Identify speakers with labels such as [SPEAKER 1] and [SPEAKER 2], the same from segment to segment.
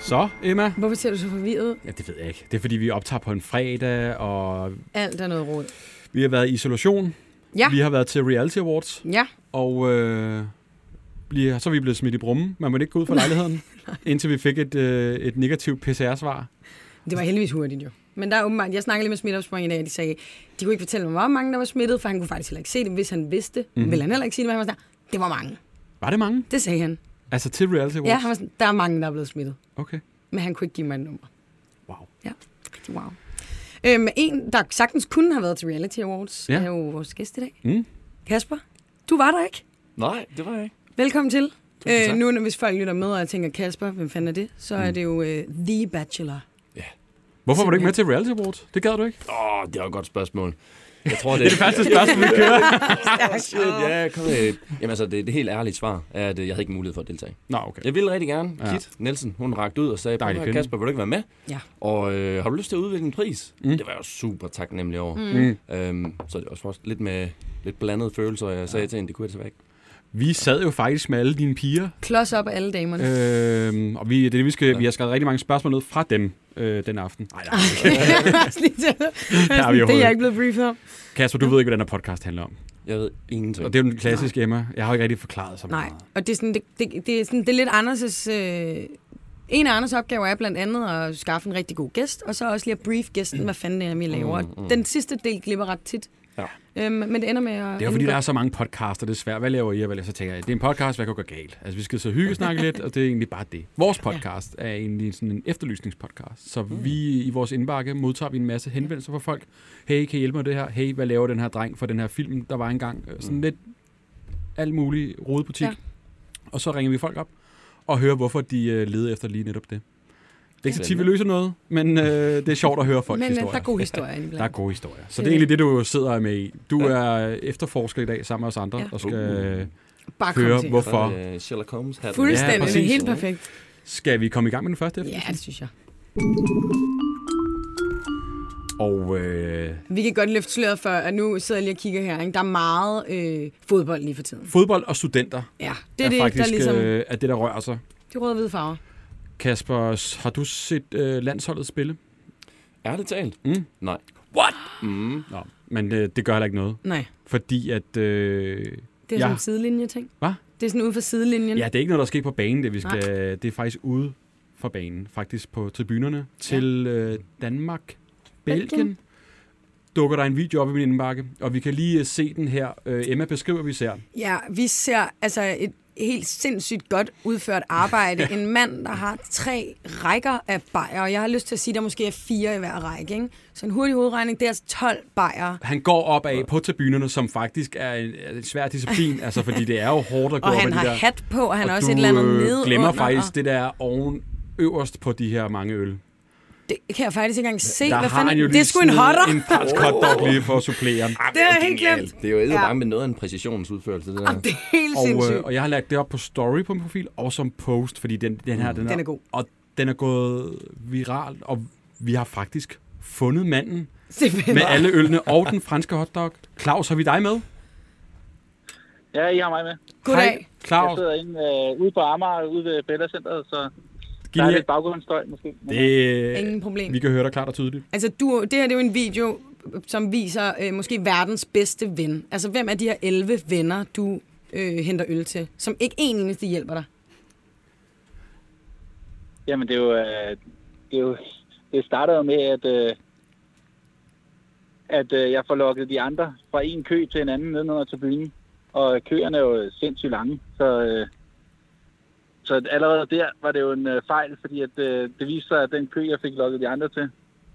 [SPEAKER 1] Så, Emma?
[SPEAKER 2] Hvorfor ser du så forvirret? ud?
[SPEAKER 1] Ja, det ved jeg ikke. Det er, fordi vi optager på en fredag, og
[SPEAKER 2] Alt er noget råd.
[SPEAKER 1] vi har været i isolation.
[SPEAKER 2] Ja.
[SPEAKER 1] Vi har været til Reality Awards,
[SPEAKER 2] Ja,
[SPEAKER 1] og øh, bliver, så er vi blevet smidt i brummen. Man må ikke gå ud fra lejligheden, indtil vi fik et, øh, et negativt PCR-svar.
[SPEAKER 2] det var heldigvis hurtigt jo. Men der er åbenbart, jeg snakkede lige med smitteopsporingen i dag, og de sagde, de kunne ikke fortælle mig, hvor mange der var smittet, for han kunne faktisk heller ikke se det. Hvis han vidste det, mm. ville han heller ikke sige det, men han var sådan, der, det var mange.
[SPEAKER 1] Var det mange?
[SPEAKER 2] Det sagde han.
[SPEAKER 1] Altså til Reality Awards?
[SPEAKER 2] Ja, han var sådan, der er mange, der er blevet smittet.
[SPEAKER 1] Okay.
[SPEAKER 2] Men han kunne ikke give mig et nummer.
[SPEAKER 1] Wow.
[SPEAKER 2] Ja, rigtig wow. Øhm, en, der sagtens kunne have været til Reality Awards,
[SPEAKER 1] Ja.
[SPEAKER 2] ja. er jo vores gæst i dag.
[SPEAKER 1] Mm.
[SPEAKER 2] Kasper, du var der ikke.
[SPEAKER 3] Nej, det var jeg ikke.
[SPEAKER 2] Velkommen til.
[SPEAKER 3] tak.
[SPEAKER 2] Øh, nu, når hvis folk lytter med og tænker, Kasper, hvem fanden er det? Så mm. er det jo øh, The Bachelor.
[SPEAKER 1] Hvorfor var du ikke med til Reality Awards? Det gad du ikke.
[SPEAKER 3] Åh, oh, det var et godt spørgsmål. Jeg tror, det, det er
[SPEAKER 1] Første spørgsmål, vi kører.
[SPEAKER 3] shit, ja, kom med. Jamen altså, det, det helt ærlige svar er, at øh, jeg havde ikke mulighed for at deltage.
[SPEAKER 1] Nå, okay.
[SPEAKER 3] Jeg ville rigtig gerne.
[SPEAKER 1] Ja.
[SPEAKER 3] Ja. Kit Nielsen, hun rakte ud og sagde,
[SPEAKER 1] Dejlig
[SPEAKER 3] "Prøv at
[SPEAKER 1] kvinde."
[SPEAKER 3] høre, Kasper, vil du ikke være med?
[SPEAKER 2] Ja.
[SPEAKER 3] Og øh, har du lyst til at udvikle en pris? Mm. Det var jeg jo super taknemmelig over. Mm. Øhm, så det var også lidt med lidt blandede følelser, og jeg sagde til hende, det kunne jeg desværre ikke.
[SPEAKER 1] Vi sad jo faktisk med alle dine piger,
[SPEAKER 2] Klods op af alle damerne. Øh.
[SPEAKER 1] øh, og vi, det, er det, vi, skal, vi har skrevet rigtig mange spørgsmål ned fra dem øh, den aften. Nej, nej.
[SPEAKER 2] det er jeg ikke blevet briefet om.
[SPEAKER 1] Kasper, du ved ikke, hvad den her podcast handler om.
[SPEAKER 3] Jeg ved ingenting.
[SPEAKER 1] Og det er jo den klassiske Emma. Jeg har jo ikke rigtig forklaret så
[SPEAKER 2] Nej,
[SPEAKER 1] meget.
[SPEAKER 2] og det er, sådan, det, det, det er, sådan, det er lidt Anders' øh, En af Anders' opgaver er blandt andet at skaffe en rigtig god gæst, og så også lige at brief gæsten, hvad fanden det er, vi laver. Mm, Den sidste del glipper ret tit.
[SPEAKER 3] Ja.
[SPEAKER 2] Øhm, men det ender med at...
[SPEAKER 1] Det er jo fordi, der er så mange podcaster, det er svært. Hvad laver I? Og hvad laver- så tænker jeg, det er en podcast, hvad kan gå galt? Altså, vi skal så hygge snakke lidt, og det er egentlig bare det. Vores podcast er egentlig sådan en efterlysningspodcast. Så
[SPEAKER 2] Mm.
[SPEAKER 1] vi i vores indbakke modtager vi en masse henvendelser fra folk. Hey, kan I hjælpe mig med det her? Hey, hvad laver den her dreng for den her film, der var engang? Øh, Sådan lidt alt muligt rodebutik.
[SPEAKER 2] Mm. Ja.
[SPEAKER 1] Og så ringer vi folk op og hører, hvorfor de øh, leder efter lige netop det. Det er ikke så tit, vi løser noget, men øh, det er sjovt at høre folk
[SPEAKER 2] Men øh,
[SPEAKER 1] historier.
[SPEAKER 2] der er god historie
[SPEAKER 1] Der er
[SPEAKER 2] indblandt.
[SPEAKER 1] gode historier. Så det
[SPEAKER 2] Det
[SPEAKER 1] er
[SPEAKER 2] er
[SPEAKER 1] egentlig det, du sidder med i. Du er efterforsker i dag sammen med os andre,
[SPEAKER 2] Ja.
[SPEAKER 1] og skal,
[SPEAKER 2] Bare
[SPEAKER 1] høre,
[SPEAKER 2] kom til.
[SPEAKER 1] hvor-
[SPEAKER 3] Så,
[SPEAKER 1] for-
[SPEAKER 3] øh, Sherlock Holmes havde
[SPEAKER 1] Ja,
[SPEAKER 2] Fuldstændig.
[SPEAKER 1] præcis.
[SPEAKER 2] helt perfekt.
[SPEAKER 1] skal vi komme i gang med den første efter?
[SPEAKER 2] Ja, det synes jeg.
[SPEAKER 1] Og øh,
[SPEAKER 2] Vi kan godt løfte sløret for, at nu sidder jeg lige og kigger her. Ikke? Der er meget øh, fodbold lige for tiden.
[SPEAKER 1] fodbold og studenter
[SPEAKER 2] Ja, det
[SPEAKER 1] det
[SPEAKER 2] er,
[SPEAKER 1] er,
[SPEAKER 2] det,
[SPEAKER 1] faktisk
[SPEAKER 2] der ligesom...
[SPEAKER 1] øh, er det, der rører sig.
[SPEAKER 2] De røde-hvide farver.
[SPEAKER 1] Kasper, s- har du set øh, landsholdet spille?
[SPEAKER 3] Ærligt talt?
[SPEAKER 1] Mm.
[SPEAKER 3] Nej.
[SPEAKER 1] What?
[SPEAKER 3] Mm.
[SPEAKER 1] Nå, men øh, det gør heller ikke noget.
[SPEAKER 2] Nej,
[SPEAKER 1] Fordi at... Øh,
[SPEAKER 2] det er
[SPEAKER 1] Ja.
[SPEAKER 2] sådan en sidelinje-ting.
[SPEAKER 1] Hvad?
[SPEAKER 2] Det er sådan ude for sidelinjen.
[SPEAKER 1] ja, det er ikke noget, der sker på banen, det vi skal... Det er faktisk ude for banen. Faktisk på tribunerne til øh, Danmark, Belgien.
[SPEAKER 2] Belgien.
[SPEAKER 1] dukker der en video op i min indbakke, og vi kan lige øh, se den her. Øh, Emma beskriver, vi ser.
[SPEAKER 2] Ja, vi ser altså et helt sindssygt godt udført arbejde. En mand, der har tre rækker af bajer, og jeg har lyst til at sige, at der måske er fire i hver række. Ikke? Så en hurtig hovedregning, det er altså 12 bajer.
[SPEAKER 1] Han går op af på tribunerne, som faktisk er en, er en svær disciplin, altså fordi det er jo hårdt at gå
[SPEAKER 2] Og
[SPEAKER 1] op
[SPEAKER 2] han
[SPEAKER 1] ad
[SPEAKER 2] har
[SPEAKER 1] de der.
[SPEAKER 2] hat på, og han
[SPEAKER 1] og
[SPEAKER 2] har også
[SPEAKER 1] du,
[SPEAKER 2] et eller andet
[SPEAKER 1] øh,
[SPEAKER 2] nede
[SPEAKER 1] glemmer
[SPEAKER 2] under,
[SPEAKER 1] faktisk
[SPEAKER 2] og
[SPEAKER 1] det der oven øverst på de her mange øl.
[SPEAKER 2] Det kan jeg faktisk ikke engang se.
[SPEAKER 1] der
[SPEAKER 2] Hvad
[SPEAKER 1] har han
[SPEAKER 2] fanden?
[SPEAKER 1] jo
[SPEAKER 2] Det er sgu en
[SPEAKER 1] snedet
[SPEAKER 2] hotter.
[SPEAKER 1] En fransk hotdog lige for at supplere.
[SPEAKER 2] Det er helt glemt.
[SPEAKER 3] Det er jo ikke
[SPEAKER 2] Ja. Ah,
[SPEAKER 3] ja. med noget af en præcisionsudførelse, det der.
[SPEAKER 2] Det er helt
[SPEAKER 1] Og, øh,
[SPEAKER 2] sindssygt.
[SPEAKER 1] og jeg har lagt det op på story på min profil, og som post, fordi den, den her... Den,
[SPEAKER 2] Mm. Den er god.
[SPEAKER 1] Og den er gået viral, og vi har faktisk fundet manden
[SPEAKER 2] Simpelthen.
[SPEAKER 1] med alle ølene og den franske hotdog. Claus, har vi dig med?
[SPEAKER 4] Ja, I har mig med.
[SPEAKER 2] Goddag.
[SPEAKER 4] Jeg
[SPEAKER 1] Claus,
[SPEAKER 4] sidder inde øh, ude på Amager, ude ved Bella Centeret, så der er
[SPEAKER 1] Gilles,
[SPEAKER 4] lidt baggrundsstøj måske. Men,
[SPEAKER 1] det, øh,
[SPEAKER 2] Ingen problem.
[SPEAKER 1] Vi kan høre dig klart og tydeligt.
[SPEAKER 2] Altså, du, det her det er jo en video, som viser øh, måske verdens bedste ven. Altså, hvem af de her 11 venner, du øh, henter øl til, som ikke en eneste hjælper dig?
[SPEAKER 4] Jamen, det er jo... Øh, det, er jo det startede jo med, at, øh, at øh, jeg får lukket de andre fra en kø til en anden nedenunder til byen. Og køerne er jo sindssygt lange, så... Øh, så allerede der var det jo en øh, fejl, fordi at, øh, det viste sig, at den kø, jeg fik lukket de andre til,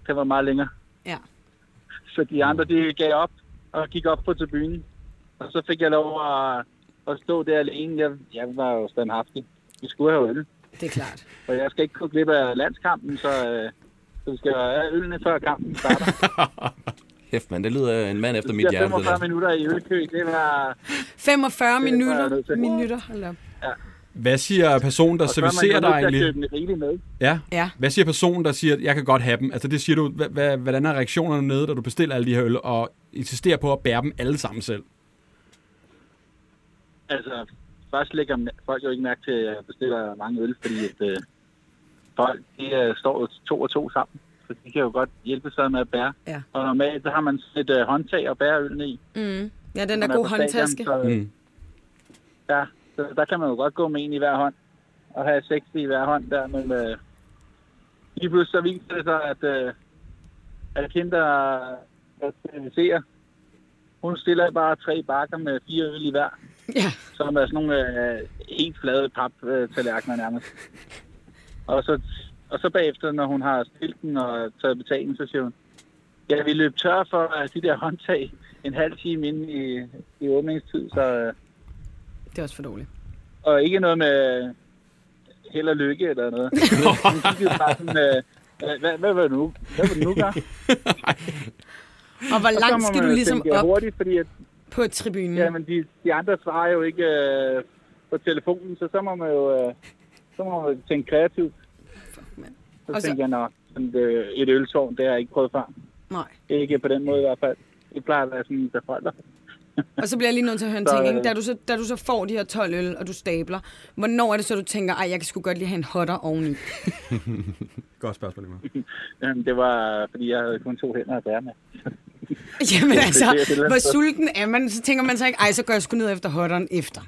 [SPEAKER 4] den var meget længere.
[SPEAKER 2] Ja.
[SPEAKER 4] Så de andre, de gav op og gik op på tribunen. Og så fik jeg lov at, at stå der alene. Jeg, jeg var jo standhaftig. Vi skulle have øl.
[SPEAKER 2] Det er klart.
[SPEAKER 4] Og jeg skal ikke gå glip af landskampen, så, øh, så vi skal have ølene før kampen starter.
[SPEAKER 3] Hæft, mand, det lyder af en mand efter
[SPEAKER 4] Det
[SPEAKER 3] mit
[SPEAKER 4] bliver
[SPEAKER 3] hjerte. det der.
[SPEAKER 4] 45 minutter i ølkø. Det var...
[SPEAKER 2] 45
[SPEAKER 4] Det er jeg nødt
[SPEAKER 2] minutter.
[SPEAKER 4] til.
[SPEAKER 2] minutter hold op.
[SPEAKER 1] Hvad siger personen, der
[SPEAKER 4] og så er man jo
[SPEAKER 1] servicerer
[SPEAKER 4] nødt
[SPEAKER 1] dig
[SPEAKER 4] til at
[SPEAKER 1] egentlig?
[SPEAKER 4] købe en rigeligt med.
[SPEAKER 1] Ja.
[SPEAKER 2] Ja.
[SPEAKER 1] Hvad siger personen, der siger, jeg kan godt have dem? Altså det siger du, hva- hva- hvordan er reaktionerne nede, da du bestiller alle de her øl, og insisterer på at bære dem alle sammen selv?
[SPEAKER 4] Altså, først lægger folk jo ikke mærke til, at jeg bestiller mange øl, fordi at, øh, folk de øh, står jo to og to sammen. Så de kan jo godt hjælpe sig med at bære.
[SPEAKER 2] Ja.
[SPEAKER 4] Og normalt så har man sådan et øh, håndtag at bære ølene i.
[SPEAKER 2] Mm. Ja, den
[SPEAKER 4] når
[SPEAKER 2] der
[SPEAKER 4] man
[SPEAKER 2] god
[SPEAKER 4] på stadion,
[SPEAKER 2] håndtaske.
[SPEAKER 4] Så,
[SPEAKER 1] Mm.
[SPEAKER 4] ja, så der kan man jo godt gå med en i hver hånd. Og have seks i hver hånd der. Men øh, lige pludselig så viser det sig, at, øh, at hende, der der steriliserer, hun stiller bare tre bakker med fire øl i hver.
[SPEAKER 2] Ja.
[SPEAKER 4] som er sådan nogle øh, helt flade pap-tallerkener nærmest. Og så, og så bagefter, når hun har stillet den og taget betaling, så siger hun, ja, vi løb tør for øh, de der håndtag en halv time inden i, i åbningstid, så, øh,
[SPEAKER 2] Det er også for dårligt.
[SPEAKER 4] og ikke noget med øh, held og lykke eller noget. Hun kiggede bare sådan, øh, "Hvad- hvad, hvad var det nu? Hvad var det nu, gør?
[SPEAKER 2] Og hvor langt skal du ligesom op
[SPEAKER 4] hurtigt, fordi at
[SPEAKER 2] på tribunen?
[SPEAKER 4] Ja, men de, de andre svarer jo ikke øh, på telefonen, så så må man jo øh, så må man jo tænke kreativt.
[SPEAKER 2] mand.
[SPEAKER 4] Så
[SPEAKER 2] Og så-
[SPEAKER 4] tænker jeg, nå, sådan, øh, et øltårn, det har jeg ikke prøvet før.
[SPEAKER 2] Nej.
[SPEAKER 4] Ikke på den måde i hvert fald. Det plejer at være sådan, der folder.
[SPEAKER 2] Og så bliver jeg lige nødt til at høre en
[SPEAKER 4] Så,
[SPEAKER 2] ting,
[SPEAKER 4] øh,
[SPEAKER 2] ikke? Da du, så, da du så får de her 12 øl, og du stabler, hvornår er det så, du tænker, ej, jeg kan sgu godt lige have en hotter oveni?
[SPEAKER 1] Godt spørgsmål, Emma.
[SPEAKER 4] Øhm, det var, fordi jeg havde kun to hænder at bære med.
[SPEAKER 2] Jamen altså,
[SPEAKER 4] det er et eller andet
[SPEAKER 2] hvor
[SPEAKER 4] sted.
[SPEAKER 2] sulten er man? Så tænker man så ikke, ej, så går jeg sgu ned efter hotteren efter.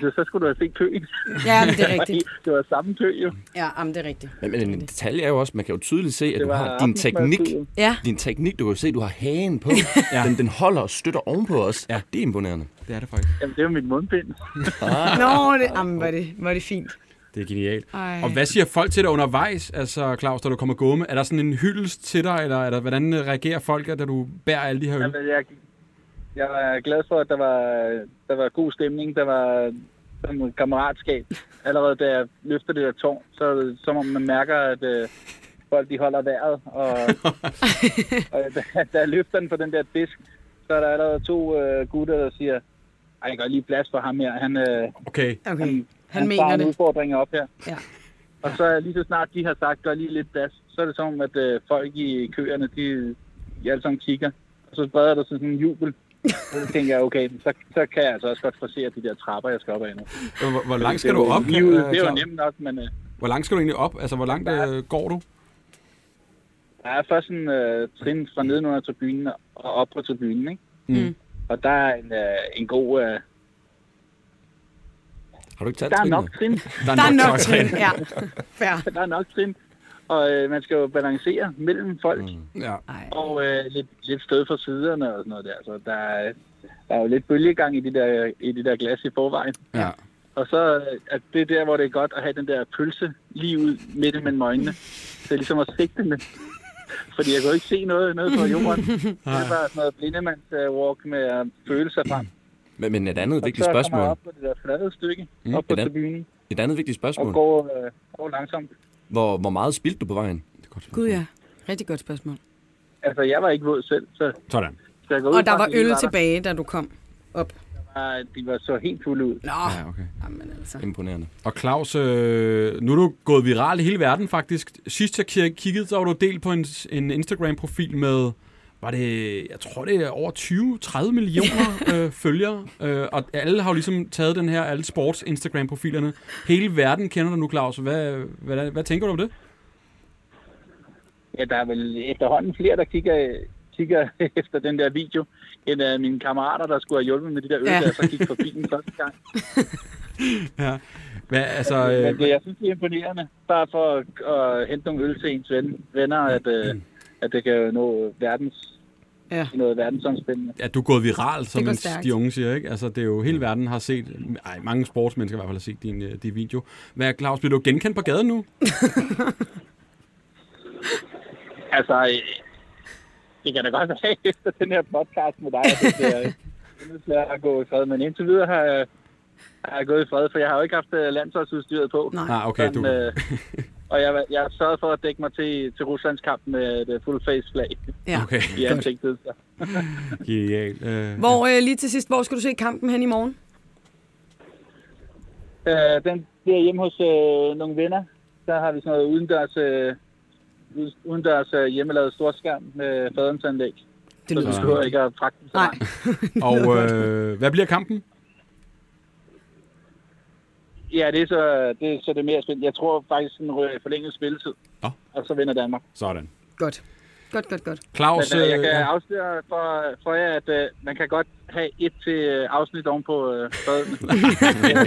[SPEAKER 4] Så, så skulle du have set køen.
[SPEAKER 2] Ja, men det er
[SPEAKER 4] Fordi
[SPEAKER 2] rigtigt.
[SPEAKER 4] det var samme kø jo.
[SPEAKER 2] Ja, jamen, det er rigtigt.
[SPEAKER 3] Men, men en detalje er jo også, man kan jo tydeligt se, at
[SPEAKER 4] Det
[SPEAKER 3] du
[SPEAKER 4] var
[SPEAKER 3] har din teknik.
[SPEAKER 4] aftensmadstiden.
[SPEAKER 2] Ja.
[SPEAKER 3] Din teknik, du kan jo se, du har hagen på. ja. den, den holder og støtter ovenpå os. Ja. Det er imponerende.
[SPEAKER 1] Det er det faktisk.
[SPEAKER 4] Jamen, det var mit mundbind.
[SPEAKER 1] Ah.
[SPEAKER 2] Nå, det, jamen, var det, var det fint.
[SPEAKER 1] Det er genialt.
[SPEAKER 2] Ej.
[SPEAKER 1] Og hvad siger folk til dig undervejs, altså Claus, da du kommer gående? Er der sådan en hyldest til dig, eller er der, hvordan øh, reagerer folk, da du bærer alle de her øl?
[SPEAKER 4] Jamen, jeg, jeg var glad for, at der var, der var god stemning, der var sådan noget kammeratskab. Allerede da jeg løfter det der tårn, så er det som om man mærker, at øh, folk de holder vejret. Og, og da, da jeg løfter den på den der disk, så er der allerede to øh, gutter, der siger, ej, jeg gør lige plads for ham her. Han, øh,
[SPEAKER 1] Okay.
[SPEAKER 2] Okay, han
[SPEAKER 4] tager
[SPEAKER 2] mener
[SPEAKER 4] en
[SPEAKER 2] det.
[SPEAKER 4] udfordring op her.
[SPEAKER 2] Ja.
[SPEAKER 4] Og så lige så snart de har sagt, gør lige lidt plads, så er det som om, at øh, folk i køerne, de, de alle sammen kigger. Og så spreder der sådan en jubel. Og så tænker jeg, okay, så, så kan jeg altså også godt forsere de der trapper, jeg skal op ad nu.
[SPEAKER 1] Hvor, hvor langt skal
[SPEAKER 4] Det
[SPEAKER 1] du
[SPEAKER 4] er jo-
[SPEAKER 1] op?
[SPEAKER 4] Det er jo,
[SPEAKER 1] øh,
[SPEAKER 4] det er jo
[SPEAKER 1] Claus?
[SPEAKER 4] nemt nok, men øh,
[SPEAKER 1] Hvor langt skal du egentlig op? Altså, hvor langt øh, går du?
[SPEAKER 4] der er først en øh, trin fra nedenunder tribunen og op på tribunen, ikke?
[SPEAKER 1] Mm.
[SPEAKER 4] Og der er en, øh, en god... Øh,
[SPEAKER 3] Har du ikke taget
[SPEAKER 4] der er
[SPEAKER 3] trinene?
[SPEAKER 4] nok trin.
[SPEAKER 2] Der er nok
[SPEAKER 1] tøj.
[SPEAKER 2] trin, ja. Fair.
[SPEAKER 4] Der er nok trin. Og øh, man skal jo balancere mellem folk. Mm.
[SPEAKER 1] Ja.
[SPEAKER 2] Ej.
[SPEAKER 4] Og øh, lidt, lidt stød fra siderne og sådan noget der. Så der, er- der er jo lidt bølgegang i de der, i de der glas i forvejen.
[SPEAKER 1] ja.
[SPEAKER 4] Og så øh, at det er der, hvor det er godt at have den der pølse lige ud midt mellem øjnene. Det er ligesom at sigte den. Fordi jeg kunne ikke se noget nede på jorden. Det var sådan noget blindemands øh, walk med at føle sig frem.
[SPEAKER 3] Men, men et andet
[SPEAKER 4] Og
[SPEAKER 3] Mm, vigtigt
[SPEAKER 4] så kommer jeg
[SPEAKER 3] spørgsmål.
[SPEAKER 4] op på det der flade stykke, mm, op på
[SPEAKER 3] Hvordan?
[SPEAKER 4] tribunen,
[SPEAKER 3] Et andet vigtigt
[SPEAKER 4] og
[SPEAKER 3] spørgsmål.
[SPEAKER 4] går, øh, går langsomt.
[SPEAKER 3] Hvor, hvor meget spildte du på vejen?
[SPEAKER 1] Det er godt.
[SPEAKER 2] Gud ja, rigtig godt spørgsmål.
[SPEAKER 4] Altså, jeg var ikke våd selv, så,
[SPEAKER 1] Sådan.
[SPEAKER 4] så jeg går ud
[SPEAKER 2] Og der
[SPEAKER 4] fra,
[SPEAKER 2] var
[SPEAKER 4] at de
[SPEAKER 2] øl
[SPEAKER 4] der.
[SPEAKER 2] tilbage, da du kom op.
[SPEAKER 4] Nej, De var så helt fulde ud.
[SPEAKER 2] Nå,
[SPEAKER 1] Ja, okay.
[SPEAKER 2] jamen altså.
[SPEAKER 3] Imponerende.
[SPEAKER 1] Og Claus, øh, nu er du gået viral i hele verden faktisk. Sidst jeg kig- kiggede, så var du delt på en, en Instagram-profil med, var det, jeg tror det er over 20-30 millioner øh, følgere. Øh, og alle har jo ligesom taget den her, alle sports-Instagram-profilerne. Hele verden kender dig nu, Claus. Hvad, hvad, hvad tænker du om det?
[SPEAKER 4] Ja, der er vel efterhånden flere, der kigger, kigger efter den der video, end uh, mine kammerater, der skulle have hjulpet med de der øl,
[SPEAKER 2] Ja.
[SPEAKER 4] ja. der så gik forbi den første gang.
[SPEAKER 1] Ja. Hvad, altså,
[SPEAKER 4] Men
[SPEAKER 1] øh,
[SPEAKER 4] det, jeg synes, det er imponerende, bare for at, at hente nogle øl til ens ven, venner, at, uh, at det kan jo nå verdens,
[SPEAKER 2] Ja.
[SPEAKER 4] noget verdensomspændende.
[SPEAKER 1] at du er gået viral, som
[SPEAKER 2] går
[SPEAKER 1] en-
[SPEAKER 2] stærkt.
[SPEAKER 1] de unge siger, ikke? Altså, det er jo hele verden har set, ej, mange sportsmennesker i hvert fald har set din, øh, din video. Hvad, Claus, bliver du genkendt på gaden nu?
[SPEAKER 4] Altså, øh, det kan da godt være efter den her podcast med dig, at det bliver øh, endnu sværere at gå i fred. Men indtil videre har jeg, har jeg gået i fred, for jeg har jo ikke haft øh, landsholdsudstyret på.
[SPEAKER 2] Nej.
[SPEAKER 1] Ah, okay,
[SPEAKER 4] Sådan,
[SPEAKER 1] du...
[SPEAKER 4] øh, og jeg, jeg sørgede for at dække mig til, til Ruslands kamp med et øh, full face flag
[SPEAKER 2] Ja.
[SPEAKER 1] Okay,
[SPEAKER 4] i ansigtet. Så.
[SPEAKER 1] genialt. Øh,
[SPEAKER 2] Hvor, øh, lige til sidst, hvor skal du se kampen hen i morgen?
[SPEAKER 4] Øh, den bliver hjemme hos øh, nogle venner. Der har vi sådan noget udendørs, øh, ud- udendørs øh, hjemmelavet storskærm med faderens anlæg.
[SPEAKER 2] Det
[SPEAKER 4] Så
[SPEAKER 2] lyder
[SPEAKER 4] vi
[SPEAKER 2] sgu.
[SPEAKER 4] behøver ikke at fragte den så
[SPEAKER 2] Nej.
[SPEAKER 4] langt.
[SPEAKER 1] Og øh, hvad bliver kampen?
[SPEAKER 4] Ja, det er så det, er så det mere spændende. Jeg tror faktisk, den ryger i forlænget spilletid.
[SPEAKER 1] Nå.
[SPEAKER 4] Og så vinder Danmark.
[SPEAKER 5] Sådan.
[SPEAKER 2] Godt. Godt, godt, godt.
[SPEAKER 1] Claus,
[SPEAKER 4] Men, øh, jeg
[SPEAKER 1] øh,
[SPEAKER 4] kan
[SPEAKER 1] ja.
[SPEAKER 4] afsløre for, for jer, at øh, man kan godt have et til øh, afsnit ovenpå øh, baden.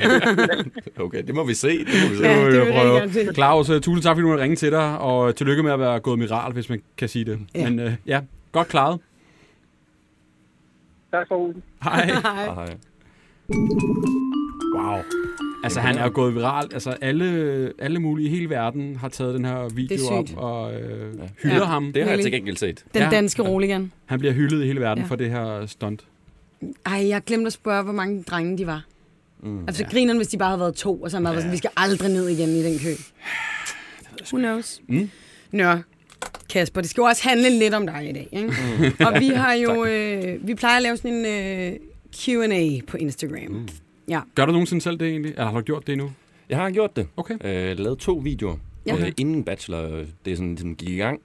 [SPEAKER 3] Okay, det må vi se. Det må vi se.
[SPEAKER 1] Det må vi
[SPEAKER 2] det
[SPEAKER 1] jo
[SPEAKER 2] vil jeg
[SPEAKER 1] prøve.
[SPEAKER 2] gerne se.
[SPEAKER 1] Claus, øh, tusind tak, fordi du har ringet til dig, og tillykke med at være gået miral, hvis man kan sige det.
[SPEAKER 2] Ja.
[SPEAKER 1] Men øh, ja, godt klaret.
[SPEAKER 4] tak for ugen.
[SPEAKER 1] Hej.
[SPEAKER 3] Ah, hej.
[SPEAKER 1] Wow. Altså, han er jo gået viral. Altså, alle, alle mulige i hele verden har taget den her
[SPEAKER 2] Det
[SPEAKER 1] video
[SPEAKER 2] er
[SPEAKER 1] op
[SPEAKER 2] sygt.
[SPEAKER 1] og øh, hylder
[SPEAKER 3] Ja.
[SPEAKER 1] ham.
[SPEAKER 3] Det har jeg
[SPEAKER 2] Nemlig.
[SPEAKER 3] til gengæld set.
[SPEAKER 2] Den
[SPEAKER 1] Ja.
[SPEAKER 2] danske roligan.
[SPEAKER 1] Han bliver hyldet i hele verden
[SPEAKER 2] Ja.
[SPEAKER 1] ja. for det her stunt.
[SPEAKER 2] Ej, jeg glemte at spørge, hvor mange drenge de var. Mm, altså, ja. grineren, hvis de bare havde været to, og så havde man været sådan, vi skal aldrig ned igen i den kø. Who knows? Mm. Nå, Kasper, det skal jo også handle lidt om dig i dag, ikke? Mm. Og vi har jo, øh, vi plejer at lave sådan en øh, Q&A på Instagram. Mm. Ja,
[SPEAKER 1] Gør du nogensinde selv det egentlig? Eller har du gjort det endnu?
[SPEAKER 3] Jeg har gjort det.
[SPEAKER 1] Okay.
[SPEAKER 3] Øh, lavet to videoer.
[SPEAKER 2] Ja.
[SPEAKER 3] Ja. Øh, inden Bachelor øh, det sådan, ligesom gik i gang,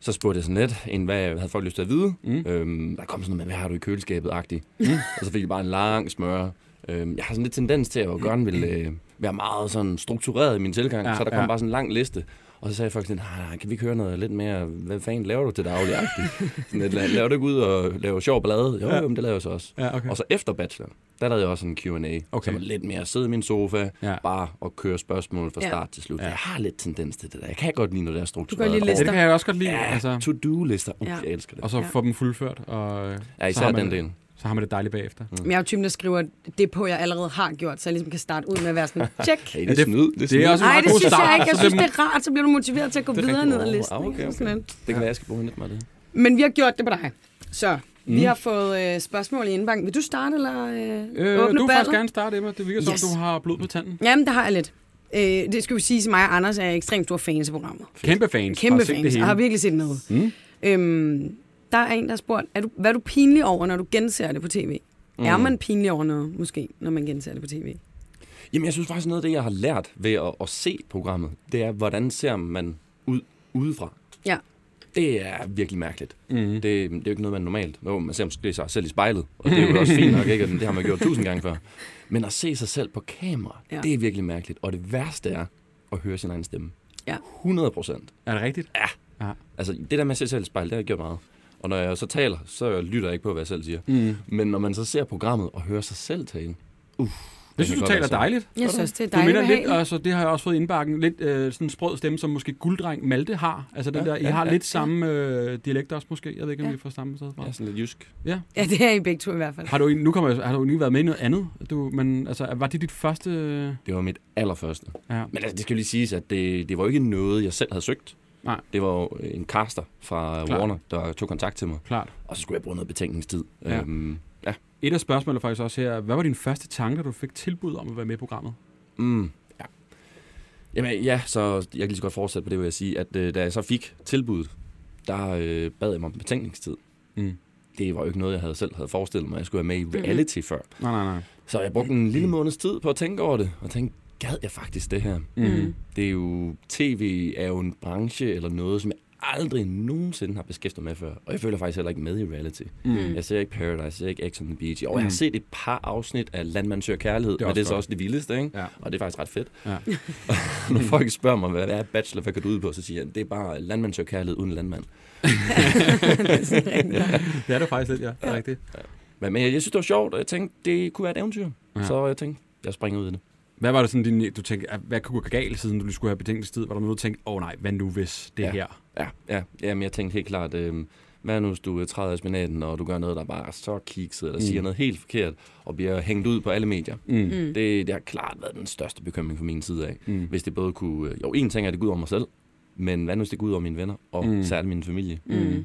[SPEAKER 3] så spurgte jeg sådan lidt, en, hvad havde folk lyst til at vide? Mm. Øhm, der kom sådan noget med, hvad har du i køleskabet-agtigt? Mm. Og så fik jeg bare en lang smør. Øhm, jeg har sådan lidt tendens til at jeg gerne vil øh, være meget sådan struktureret i min tilgang,
[SPEAKER 1] Ja,
[SPEAKER 3] ja, så der kom
[SPEAKER 1] ja.
[SPEAKER 3] ja. bare sådan en lang liste. Og så sagde folk sådan, nej, nej, kan vi ikke høre noget lidt mere, hvad fanden laver du til daglig? sådan et, eller, laver du ikke ud og laver sjov ballade? Jo, ja. jo, men det laver jeg så også.
[SPEAKER 1] Ja, okay.
[SPEAKER 3] Og så efter Bachelor, der lavede jeg også en Q&A,
[SPEAKER 1] Okay.
[SPEAKER 3] okay. som var lidt mere at sidde i min sofa,
[SPEAKER 1] Ja.
[SPEAKER 3] ja. bare og køre spørgsmål fra
[SPEAKER 2] Ja.
[SPEAKER 3] ja. start til slut. Ja. Jeg har lidt tendens til det der. Jeg kan godt lide, når det er struktureret.
[SPEAKER 2] lide
[SPEAKER 1] Ja,
[SPEAKER 2] lister.
[SPEAKER 1] det kan jeg også godt lide.
[SPEAKER 3] Ja, altså.
[SPEAKER 1] Altså,
[SPEAKER 3] to-do-lister. Uh,
[SPEAKER 2] Ja.
[SPEAKER 3] ja. Jeg elsker det.
[SPEAKER 1] og så få dem fuldført, og øh,
[SPEAKER 3] Ja,
[SPEAKER 1] så,
[SPEAKER 3] især
[SPEAKER 1] har
[SPEAKER 3] den
[SPEAKER 1] man,
[SPEAKER 3] del.
[SPEAKER 1] så har man det dejligt bagefter. Mm.
[SPEAKER 2] men jeg er jo typen, der skriver det på, jeg allerede har gjort, så jeg ligesom kan starte ud med at være sådan, check.
[SPEAKER 3] Hey,
[SPEAKER 1] Ja,
[SPEAKER 3] det er snyd. Det, er
[SPEAKER 1] det
[SPEAKER 3] snyd.
[SPEAKER 1] er også en
[SPEAKER 2] Nej,
[SPEAKER 1] meget
[SPEAKER 2] det
[SPEAKER 1] god
[SPEAKER 2] synes
[SPEAKER 1] start.
[SPEAKER 2] jeg ikke. Jeg
[SPEAKER 1] Så det-
[SPEAKER 2] synes, det er rart, så bliver du motiveret til at gå videre ned ad listen.
[SPEAKER 3] Ah,
[SPEAKER 2] ikke?
[SPEAKER 3] okay, okay.
[SPEAKER 2] Sådan lidt.
[SPEAKER 3] Det kan være, jeg skal bruge hende lidt meget af det.
[SPEAKER 2] Men vi har gjort det på dig. Så mm. vi har fået øh, spørgsmål i indbakken. Vil du starte, eller øh,
[SPEAKER 1] Øh,
[SPEAKER 2] åbne
[SPEAKER 1] du vil faktisk
[SPEAKER 2] ballet?
[SPEAKER 1] gerne starte, Emma. Det virker som,
[SPEAKER 2] Yes.
[SPEAKER 1] du har blod på tanden.
[SPEAKER 2] Jamen, det har jeg lidt. Øh, det skal vi sige, at mig og Anders er ekstremt store fans af programmet.
[SPEAKER 1] Kæmpe fans.
[SPEAKER 2] Kæmpe
[SPEAKER 1] Har set det
[SPEAKER 2] fans,
[SPEAKER 1] hele.
[SPEAKER 2] og har virkelig set med. Mm. Øhm, der er en, der har spurgt, er du, hvad er du pinlig over, når du genser det på tv? Mm. Er man pinlig over noget, måske, når man genser det på tv?
[SPEAKER 3] Jamen, jeg synes faktisk, noget af det, jeg har lært ved at, at se programmet, det er, hvordan ser man ud udefra.
[SPEAKER 2] Ja.
[SPEAKER 3] Det er virkelig mærkeligt. Mm-hmm.
[SPEAKER 1] Mm.
[SPEAKER 3] Det, det er jo ikke noget, man normalt... Nå, man ser måske sig selv i spejlet, og det er jo også fint nok, ikke? Og Det har man gjort tusind gange før. Men at se sig selv på kamera,
[SPEAKER 2] Ja.
[SPEAKER 3] ja. det er virkelig mærkeligt. Og det værste er at høre sin egen stemme.
[SPEAKER 2] Ja.
[SPEAKER 3] 100 procent.
[SPEAKER 1] Er det rigtigt?
[SPEAKER 3] Altså, det der med at se sig selv i spejlet, det har jeg gjort meget. Og når jeg så taler, så lytter jeg ikke på, hvad jeg selv siger. Mm. Men når man så ser programmet og hører sig selv tale...
[SPEAKER 1] Det
[SPEAKER 3] kan
[SPEAKER 1] synes du
[SPEAKER 3] godt
[SPEAKER 1] taler
[SPEAKER 3] være sådan.
[SPEAKER 1] dejligt.
[SPEAKER 2] Jeg synes, det er
[SPEAKER 1] Du
[SPEAKER 2] dejligt
[SPEAKER 1] minder lidt,
[SPEAKER 2] behageligt.
[SPEAKER 1] altså, det har jeg også fået indbakken, lidt øh, sådan en sprød stemme, som måske gulddreng Malte har. Altså den der, I har lidt samme øh, dialekt også måske. Jeg ved ikke, om
[SPEAKER 2] Ja.
[SPEAKER 1] I er fra samme sted fra.
[SPEAKER 3] Ja, sådan lidt jysk.
[SPEAKER 1] Ja.
[SPEAKER 2] Ja, det er I begge to i hvert fald.
[SPEAKER 1] Har du, en- nu kommer, jeg- har du lige været med i noget andet? Du, men altså, var det dit første... øh,
[SPEAKER 3] Det var mit allerførste.
[SPEAKER 1] Ja.
[SPEAKER 3] Men altså, det skal jo lige siges, at det, det var jo ikke noget, jeg selv havde søgt.
[SPEAKER 1] Nej.
[SPEAKER 3] Det var jo en caster fra
[SPEAKER 1] Klart.
[SPEAKER 3] Klar. Warner, der tog kontakt til mig.
[SPEAKER 1] Klart.
[SPEAKER 3] Og så skulle jeg bruge noget betænkningstid.
[SPEAKER 1] Ja.
[SPEAKER 3] Øhm, ja.
[SPEAKER 1] Et af spørgsmålene faktisk også her. Hvad var din første tanke, da du fik tilbud om at være med i programmet?
[SPEAKER 3] Mm. ja. Jamen ja, så jeg kan lige så godt fortsætte på det, vil jeg sige, at øh, da jeg så fik tilbuddet, der øh, bad jeg mig om betænkningstid.
[SPEAKER 1] Mm. Mm-hmm.
[SPEAKER 3] Det var jo ikke noget, jeg havde selv havde forestillet mig, at jeg skulle være med i reality før.
[SPEAKER 1] Nej, nej, nej.
[SPEAKER 3] Så jeg brugte en lille måneds tid på at tænke over det, og tænkte, gad jeg faktisk det her?
[SPEAKER 1] Mm.
[SPEAKER 3] Det er jo, tv er jo en branche eller noget, som jeg aldrig nogensinde har beskæftiget mig med før. Og jeg føler faktisk heller ikke med i reality. Mm. Jeg ser ikke Paradise, jeg ser ikke X on the Beach. Og jeg har set et par afsnit af Landmand Søger Kærlighed,
[SPEAKER 1] Mm. Det er
[SPEAKER 3] men
[SPEAKER 1] også
[SPEAKER 3] det er så
[SPEAKER 1] godt.
[SPEAKER 3] også det vildeste, ikke?
[SPEAKER 1] Ja.
[SPEAKER 3] Og det er faktisk ret fedt.
[SPEAKER 1] Ja.
[SPEAKER 3] Når folk spørger mig, hvad er bachelor, hvad går du ud på? Så siger jeg, det er bare Landmand Søger Kærlighed uden landmand.
[SPEAKER 1] Det er det faktisk lidt, ja. Det er rigtigt.
[SPEAKER 3] Men, men jeg, jeg synes, det var sjovt, og jeg tænkte, det kunne være et eventyr.
[SPEAKER 1] Ja.
[SPEAKER 3] Ja. Så jeg tænkte, jeg springer ud i det.
[SPEAKER 1] Hvad var det sådan, din, du tænkte, at hvad kunne gå galt, siden du lige skulle have betænkningstid? Var der noget, du tænkte, åh oh, nej, hvad nu hvis det
[SPEAKER 3] Ja.
[SPEAKER 1] her?
[SPEAKER 3] Ja, ja. Jamen, jeg tænkte helt klart, øh, hvad nu hvis du øh, træder i spinaten, og du gør noget, der bare er så kikset, eller mm. siger noget helt forkert, og bliver hængt ud på alle medier. Mm. Det, det har klart været den største bekymring fra min side af. Mm. Hvis det både kunne... øh, Jo, en ting er, at det går ud over mig selv, men hvad nu hvis det går ud over mine venner, og mm. særligt min familie? Mm.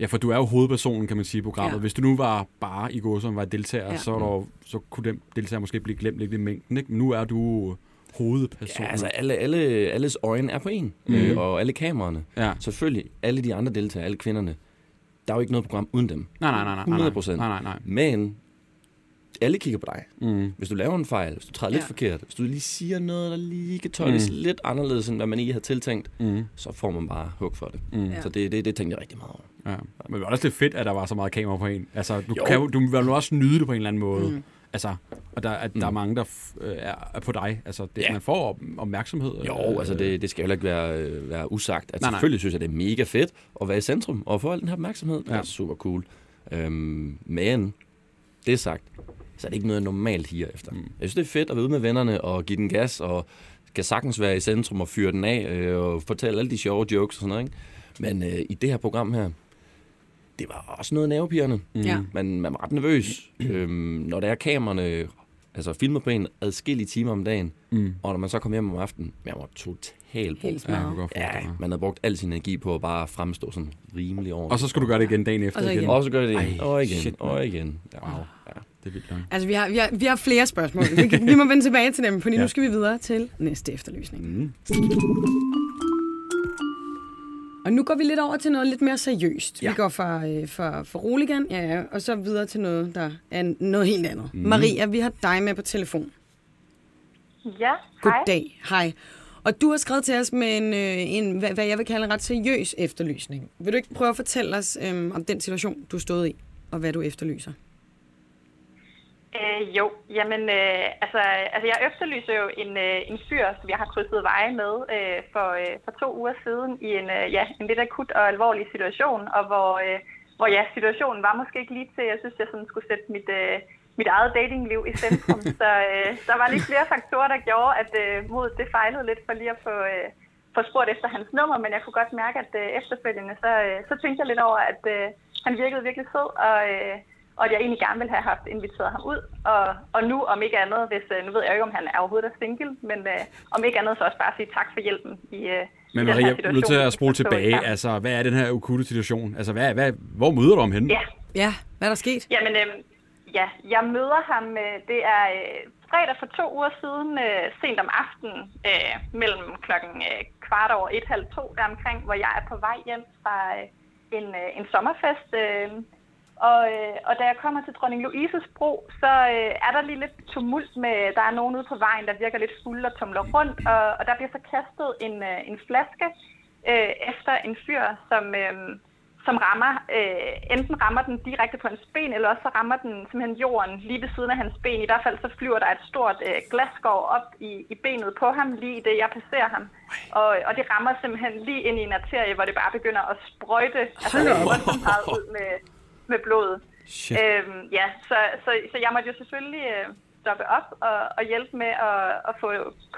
[SPEAKER 1] Ja, for du er jo hovedpersonen, kan man sige, i programmet. Ja.
[SPEAKER 2] Ja.
[SPEAKER 1] Hvis du nu var bare i går, som var deltager, ja.
[SPEAKER 2] Ja.
[SPEAKER 1] så, var der, jo- så kunne den deltager måske blive glemt lidt i mængden. Ikke? Men nu er du hovedpersonen.
[SPEAKER 3] Ja, altså alle, alle, alles øjne er på en, mm. øh, og alle kameraerne.
[SPEAKER 1] Ja.
[SPEAKER 3] Selvfølgelig, alle de andre deltagere, alle kvinderne, der er jo ikke noget program uden dem.
[SPEAKER 1] Nej, nej, nej, nej.
[SPEAKER 3] 100 procent.
[SPEAKER 1] Nej, nej, nej.
[SPEAKER 3] Men alle kigger på dig. Mm. Hvis du laver en fejl, hvis du træder lidt
[SPEAKER 2] Ja.
[SPEAKER 3] forkert, hvis du lige siger noget, der lige kan tolkes mm. lidt anderledes, end hvad man ikke havde tiltænkt, mm. så får man bare hug for det. Mm.
[SPEAKER 2] Ja.
[SPEAKER 3] Så det, det, det tænkte jeg rigtig meget over.
[SPEAKER 1] Ja. Men det var også lidt fedt, at der var så meget kamera på en. Altså, du,
[SPEAKER 3] Jo.
[SPEAKER 1] kan, jo- du vil jo også nyde det på en eller anden måde. Mm. Altså, og der, at, mm. der er mange, der f- øh, er er på dig. Altså, det,
[SPEAKER 3] Ja.
[SPEAKER 1] man får op- opmærksomhed. Øh,
[SPEAKER 3] Jo, altså det, det skal heller ikke være, øh, være usagt. At
[SPEAKER 1] Nej,
[SPEAKER 3] nej,
[SPEAKER 1] nej.
[SPEAKER 3] selvfølgelig synes jeg, det er mega fedt at være i centrum og få al den her opmærksomhed. Det
[SPEAKER 1] Ja.
[SPEAKER 3] er super cool. Øhm, men det er sagt, så er det ikke noget, jeg normalt higer efter. Mm. Jeg synes, det er fedt at være ude med vennerne og give den gas og kan sagtens være i centrum og fyre den af øh, og fortælle alle de sjove jokes og sådan noget. Ikke? Men øh, i det her program her, det var også noget nervepirrende. Mm.
[SPEAKER 2] Ja.
[SPEAKER 3] Man, man var ret nervøs. øhm, når der er kamerne, altså filmer på en adskillige timer om dagen, mm. og når man så kom hjem om aftenen, man var totalt
[SPEAKER 2] Helt
[SPEAKER 3] brugt.
[SPEAKER 1] Ja, jeg kunne
[SPEAKER 2] smadret.
[SPEAKER 1] godt
[SPEAKER 3] Ja,
[SPEAKER 1] forestille mig.
[SPEAKER 3] man havde brugt al sin energi på at bare fremstå sådan rimelig ordentligt.
[SPEAKER 1] Og så skal du gøre det igen dagen efter.
[SPEAKER 2] Og så igen.
[SPEAKER 3] og så gør det igen,
[SPEAKER 1] Ej,
[SPEAKER 3] og igen,
[SPEAKER 1] shit,
[SPEAKER 3] og igen. Ja.
[SPEAKER 1] Wow. Det er vildt nok.
[SPEAKER 2] Altså, vi har, vi, har, vi har flere spørgsmål. Vi, kan- vi må vende tilbage til dem, fordi ja.
[SPEAKER 1] Ja.
[SPEAKER 2] nu skal vi videre til næste efterlysning. Mm. Og nu går vi lidt over til noget lidt mere seriøst. Ja. Vi går fra, øh, fra, fra roligan, ja, ja, og så videre til noget, der er noget helt andet. Mm. Maria, vi har dig med på telefon.
[SPEAKER 5] Ja, hej.
[SPEAKER 2] Goddag. Hej. Og du har skrevet til os med en, øh, en hvad, hvad jeg vil kalde en ret seriøs efterlysning. Vil du ikke prøve at fortælle os øh, om den situation, du stod i, og hvad du efterlyser?
[SPEAKER 5] Øh, jo, jamen, øh, altså, altså jeg efterlyser jo en, øh, en fyr, som jeg har krydset veje med øh, for, øh, for to uger siden i en, øh, ja, en lidt akut og alvorlig situation, og hvor, øh, hvor ja, situationen var måske ikke lige til, jeg synes, jeg sådan skulle sætte mit, øh, mit eget datingliv i centrum. så øh, der var lidt flere faktorer, der gjorde, at øh, modet det fejlede lidt for lige at få, øh, få spurgt efter hans nummer, men jeg kunne godt mærke, at øh, efterfølgende, så, øh, så tænkte jeg lidt over, at øh, han virkede virkelig sød, og... Øh, og at jeg egentlig gerne ville have haft inviteret ham ud. Og, og nu, om ikke andet, hvis, øh, nu ved jeg jo ikke, om han er overhovedet er single, men øh, om ikke andet, så også bare sige tak for hjælpen i, øh, i
[SPEAKER 1] Men
[SPEAKER 5] den her
[SPEAKER 1] Maria, du er
[SPEAKER 5] situation,
[SPEAKER 1] nødt til
[SPEAKER 5] vi
[SPEAKER 1] at spole
[SPEAKER 5] står i
[SPEAKER 1] tilbage.
[SPEAKER 5] sammen.
[SPEAKER 1] Altså, hvad er den her okulte situation? Altså, hvad, hvad, hvor møder du ham henne?
[SPEAKER 5] Ja,
[SPEAKER 2] Ja, hvad er der sket?
[SPEAKER 5] Jamen, øh, ja, jeg møder ham, øh, det er øh, fredag for to uger siden, øh, sent om aftenen, øh, mellem klokken øh, kvart over et, halv to deromkring, hvor jeg er på vej hjem fra øh, en, øh, en sommerfest. Øh, og, øh, og da jeg kommer til Dronning Louises bro, så øh, er der lige lidt tumult med, der er nogen ude på vejen, der virker lidt fulde og tumler rundt, og, og der bliver så kastet en, øh, en flaske øh, efter en fyr, som... Øh, som rammer, øh, enten rammer den direkte på hans ben, eller også så rammer den simpelthen jorden lige ved siden af hans ben. I hvert fald så flyver der et stort øh, glasskår op i, i benet på ham, lige i det jeg passerer ham. Og, og det rammer simpelthen lige ind i en arterie, hvor det bare begynder at sprøjte, altså det er voldsomt meget ud med, med blodet.
[SPEAKER 1] Shit.
[SPEAKER 5] Øhm, ja, så, så, så jeg måtte jo selvfølgelig øh, stoppe op og, og hjælpe med at, at få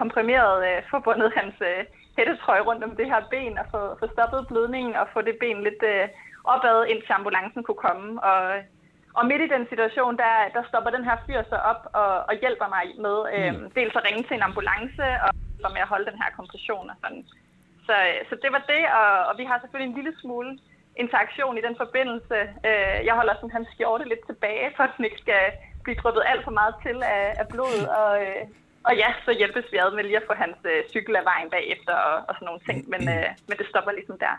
[SPEAKER 5] komprimeret, øh, få bundet hans øh, hættetrøje rundt om det her ben og få, få stoppet blødningen og få det ben lidt øh, opad, indtil ambulancen kunne komme. Og, og midt i den situation, der, der stopper den her fyr så op og, og hjælper mig med øh, dels at ringe til en ambulance og hjælper med at holde den her kompression og sådan. Så, øh, så det var det, og, og vi har selvfølgelig en lille smule interaktion i den forbindelse. Øh, jeg holder sådan hans skjorte lidt tilbage, for at den ikke skal blive dryppet alt for meget til af, af blodet. Og, øh, og ja, så hjælpes vi ad med lige at få hans øh, cykel af vejen bagefter og, og sådan nogle ting, men, øh, men det stopper ligesom der.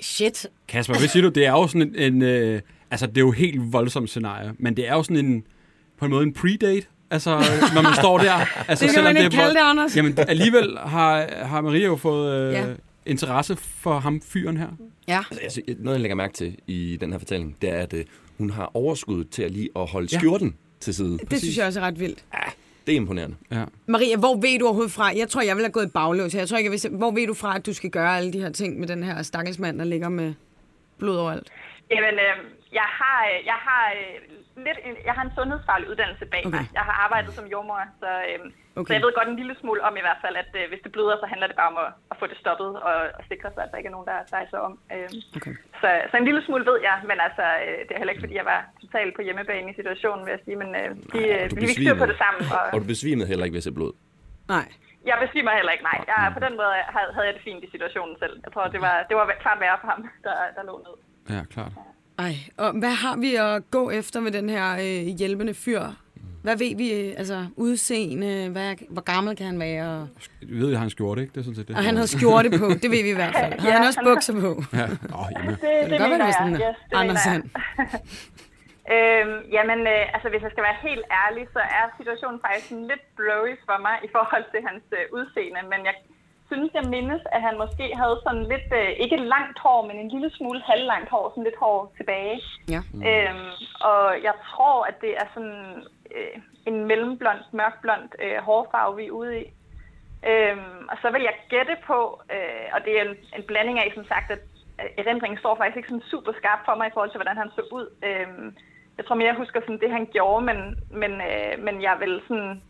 [SPEAKER 2] Shit.
[SPEAKER 1] Kasper, hvad siger du? Det er jo sådan en... en øh, altså, det er jo et helt voldsomt scenarie, men det er jo sådan en... På en måde en predate, altså, når man står der. Altså,
[SPEAKER 2] Det kan
[SPEAKER 1] selvom
[SPEAKER 2] man
[SPEAKER 1] er
[SPEAKER 2] ikke kalde
[SPEAKER 1] vold-
[SPEAKER 2] det, Anders.
[SPEAKER 1] Jamen, alligevel har, har Maria jo fået øh,
[SPEAKER 2] Ja.
[SPEAKER 1] ja. interesse for ham fyren her.
[SPEAKER 2] Ja.
[SPEAKER 3] Altså, jeg sy- noget, jeg lægger mærke til i den her fortælling, det er, at øh, hun har overskud til at lige at holde
[SPEAKER 1] Ja.
[SPEAKER 3] skjorten til side.
[SPEAKER 2] Det synes jeg også er ret vildt.
[SPEAKER 3] Det er imponerende.
[SPEAKER 1] Ja.
[SPEAKER 2] Maria, hvor ved du overhovedet fra? Jeg tror, jeg vil have gået i baglås. her. Jeg tror ikke, jeg vidste, hvor ved du fra, at du skal gøre alle de her ting med den her stakkels mand, der ligger med blod overalt?
[SPEAKER 5] Jamen, øh, jeg har, øh, jeg har øh, lidt en, jeg har en sundhedsfaglig uddannelse bag okay. mig.
[SPEAKER 2] Okay.
[SPEAKER 5] Jeg har arbejdet som jordmor, så, øh, okay. så
[SPEAKER 2] Okay.
[SPEAKER 5] jeg ved godt en lille smule om i hvert fald, at øh, hvis det bløder, så handler det bare om at, at få det stoppet og, og sikre sig, at der ikke er nogen, der drejer sig om. Øh,
[SPEAKER 2] Okay.
[SPEAKER 5] så, så en lille smule ved jeg, men altså, øh, det er heller ikke, fordi jeg var totalt på hjemmebane i situationen, vil jeg sige, men øh, de, øh,
[SPEAKER 3] og du
[SPEAKER 5] vi fik styr på
[SPEAKER 3] besvimede.
[SPEAKER 5] det sammen. Og,
[SPEAKER 3] Og du besvimede heller ikke ved at se blod.
[SPEAKER 2] Nej.
[SPEAKER 5] jeg besvimer heller ikke, nej. Jeg, på den måde øh, havde, havde jeg det fint i situationen selv. Jeg tror, det var, det var klart værre for ham, der, der lå ned.
[SPEAKER 1] Ja, klart.
[SPEAKER 2] Ej. Og hvad har vi at gå efter med den her øh, hjælpende fyr? Hvad ved vi? øh, Altså, udseende? Hvad, hvor gammel kan han være? Og,
[SPEAKER 1] Vi ved, at jeg har en skjorte, ikke? Det er sådan set det.
[SPEAKER 2] og han havde skjorte på. Det ved vi i hvert fald. Har han også bukser på?
[SPEAKER 1] Ja. Nå, jamen.
[SPEAKER 5] Det,
[SPEAKER 2] Det
[SPEAKER 5] det,
[SPEAKER 2] kan godt
[SPEAKER 5] mener
[SPEAKER 2] være,
[SPEAKER 5] jeg.
[SPEAKER 2] sådan
[SPEAKER 5] Yes, det mener jeg.
[SPEAKER 2] Andersen.
[SPEAKER 5] Øhm, jamen, øh, altså hvis jeg skal være helt ærlig, så er situationen faktisk sådan lidt blurry for mig i forhold til hans øh, udseende, men jeg synes, jeg mindes, at han måske havde sådan lidt, øh, ikke langt hår, men en lille smule halvlangt hår, sådan lidt hår tilbage.
[SPEAKER 2] Ja.
[SPEAKER 5] Øhm, og jeg tror, at det er sådan øh, en mellemblond, mørkblond øh, hårfarve, vi er ude i. Øhm, og så vil jeg gætte på, øh, og det er en, en blanding af, som sagt, at øh, erindringen står faktisk ikke sådan super skarp for mig i forhold til, hvordan han så ud. Øhm, jeg tror mere, jeg husker sådan det, han gjorde, men, men, øh, men jeg vil sådan...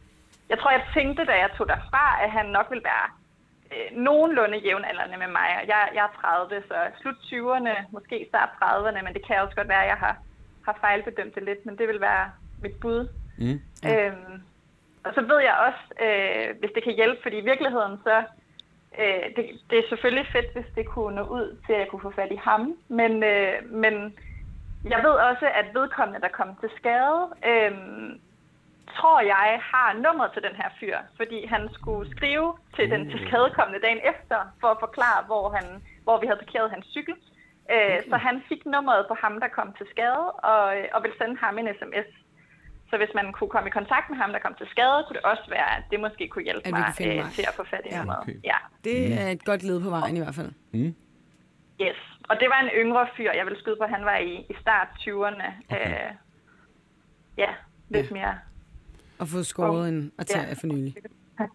[SPEAKER 5] Jeg tror, jeg tænkte, da jeg tog derfra, at han nok ville være øh, nogenlunde jævnaldrende med mig. Og Jeg, jeg er 30, så slut 20'erne, måske start 30'erne, men det kan også godt være, at jeg har, har fejlbedømt det lidt, men det vil være mit bud.
[SPEAKER 1] Mm.
[SPEAKER 5] Øhm, og så ved jeg også, øh, hvis det kan hjælpe, fordi i virkeligheden så, øh, det, det er selvfølgelig fedt, hvis det kunne nå ud til, at jeg kunne få fat i ham, men, øh, men jeg ved også, at vedkommende, der kom til skade, øh, tror jeg har nummeret til den her fyr, fordi han skulle skrive til den tilskadekommende dagen efter, for at forklare, hvor, han, hvor vi havde parkeret hans cykel. Øh, okay. Så han fik nummeret på ham, der kom til skade, og, og ville sende ham en sms. Så hvis man kunne komme i kontakt med ham, der kom til skade, kunne det også være, at det måske kunne hjælpe
[SPEAKER 2] At vi
[SPEAKER 5] mig,
[SPEAKER 2] kunne finde
[SPEAKER 5] øh,
[SPEAKER 2] vej.
[SPEAKER 5] til at få fat i
[SPEAKER 2] Ja.
[SPEAKER 5] ja. noget.
[SPEAKER 1] Okay.
[SPEAKER 5] Ja,
[SPEAKER 2] Det er et godt led på vejen i hvert fald.
[SPEAKER 5] yes. Og det var en yngre fyr, jeg ville skyde på, han var i, i start 20'erne. Okay. Øh, ja, lidt ja. mere.
[SPEAKER 2] At få skåret en arterie for nylig.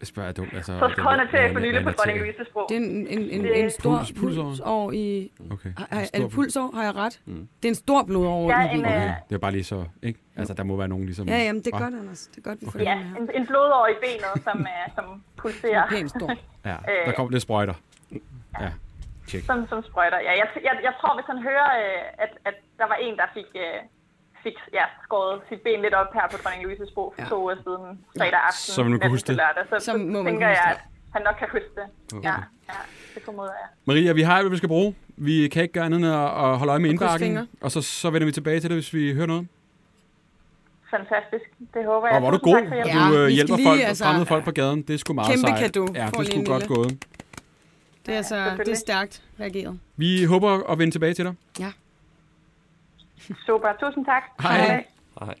[SPEAKER 1] Jeg spørger, er dumt. Altså,
[SPEAKER 5] Så
[SPEAKER 1] den-
[SPEAKER 5] skrådende til
[SPEAKER 1] den-
[SPEAKER 5] for nylig
[SPEAKER 1] den-
[SPEAKER 5] på
[SPEAKER 1] den-
[SPEAKER 5] dronning Louise sprog.
[SPEAKER 2] Det er en, en, en,
[SPEAKER 5] Det-
[SPEAKER 2] en stor
[SPEAKER 1] Puls- pulsår.
[SPEAKER 2] pulsår i...
[SPEAKER 1] Okay.
[SPEAKER 2] Har- har- Er
[SPEAKER 1] Stor- Mm.
[SPEAKER 2] det pulsår? Har jeg ret? Det er en stor blodover
[SPEAKER 5] Ja,
[SPEAKER 2] i
[SPEAKER 5] en,
[SPEAKER 2] Wien.
[SPEAKER 1] Okay,
[SPEAKER 5] øh,
[SPEAKER 1] det er bare lige så, ikke? Altså, der må være nogen ligesom...
[SPEAKER 2] Ja, jamen det er
[SPEAKER 1] Hva?
[SPEAKER 2] godt, Anders. Det er godt, vi får
[SPEAKER 5] Ja,
[SPEAKER 2] den her.
[SPEAKER 5] en, en blod over i benet, som, øh, som pulserer,
[SPEAKER 2] Pænt stor.
[SPEAKER 1] Ja,
[SPEAKER 5] Øh.
[SPEAKER 1] der kom lidt sprøjter. Ja, tjek.
[SPEAKER 5] som, som sprøjter. Ja, jeg, t- jeg, jeg tror, hvis han hører, øh, at, at der var en, der fik, øh, fik ja, skåret sit ben lidt op her på dronning Louises bro for
[SPEAKER 2] Ja.
[SPEAKER 5] to uger siden, fredag aften,
[SPEAKER 1] Så vil man kunne
[SPEAKER 5] natten
[SPEAKER 1] huske
[SPEAKER 5] til
[SPEAKER 1] det.
[SPEAKER 5] Lørdag, så,
[SPEAKER 2] Så må
[SPEAKER 5] så
[SPEAKER 2] man
[SPEAKER 5] tænker
[SPEAKER 2] kunne
[SPEAKER 5] jeg,
[SPEAKER 2] huske
[SPEAKER 5] at han nok kan huske det. Ja, ja, det formoder jeg.
[SPEAKER 1] Maria, vi har alt, hvad vi skal bruge. Vi kan ikke gøre andet end at at holde øje med
[SPEAKER 2] Og
[SPEAKER 1] indbakken.
[SPEAKER 2] krydse fingre.
[SPEAKER 1] Og så, så vender vi tilbage til det, hvis vi hører noget.
[SPEAKER 5] Fantastisk. Det håber jeg.
[SPEAKER 1] Og hvor er du
[SPEAKER 5] Tusind
[SPEAKER 1] god.
[SPEAKER 5] tak for hjælpen.
[SPEAKER 1] Du
[SPEAKER 2] Ja,
[SPEAKER 1] øh,
[SPEAKER 2] vi skal
[SPEAKER 1] hjælper
[SPEAKER 2] lige,
[SPEAKER 1] folk,
[SPEAKER 2] altså,
[SPEAKER 1] fremmede folk på gaden. Det er sgu meget
[SPEAKER 2] kæmpe
[SPEAKER 1] sejt.
[SPEAKER 2] cadeau.
[SPEAKER 1] Ja,
[SPEAKER 2] Får
[SPEAKER 1] det er
[SPEAKER 2] lige
[SPEAKER 1] sgu
[SPEAKER 2] en
[SPEAKER 1] godt
[SPEAKER 2] lille.
[SPEAKER 1] gået.
[SPEAKER 2] Det er, så, Altså, det er
[SPEAKER 5] selvfølgelig.
[SPEAKER 2] stærkt reageret.
[SPEAKER 1] Vi håber at vende tilbage til dig.
[SPEAKER 5] Super. Tusind tak.
[SPEAKER 1] Hej.
[SPEAKER 5] Hej.
[SPEAKER 3] Ej.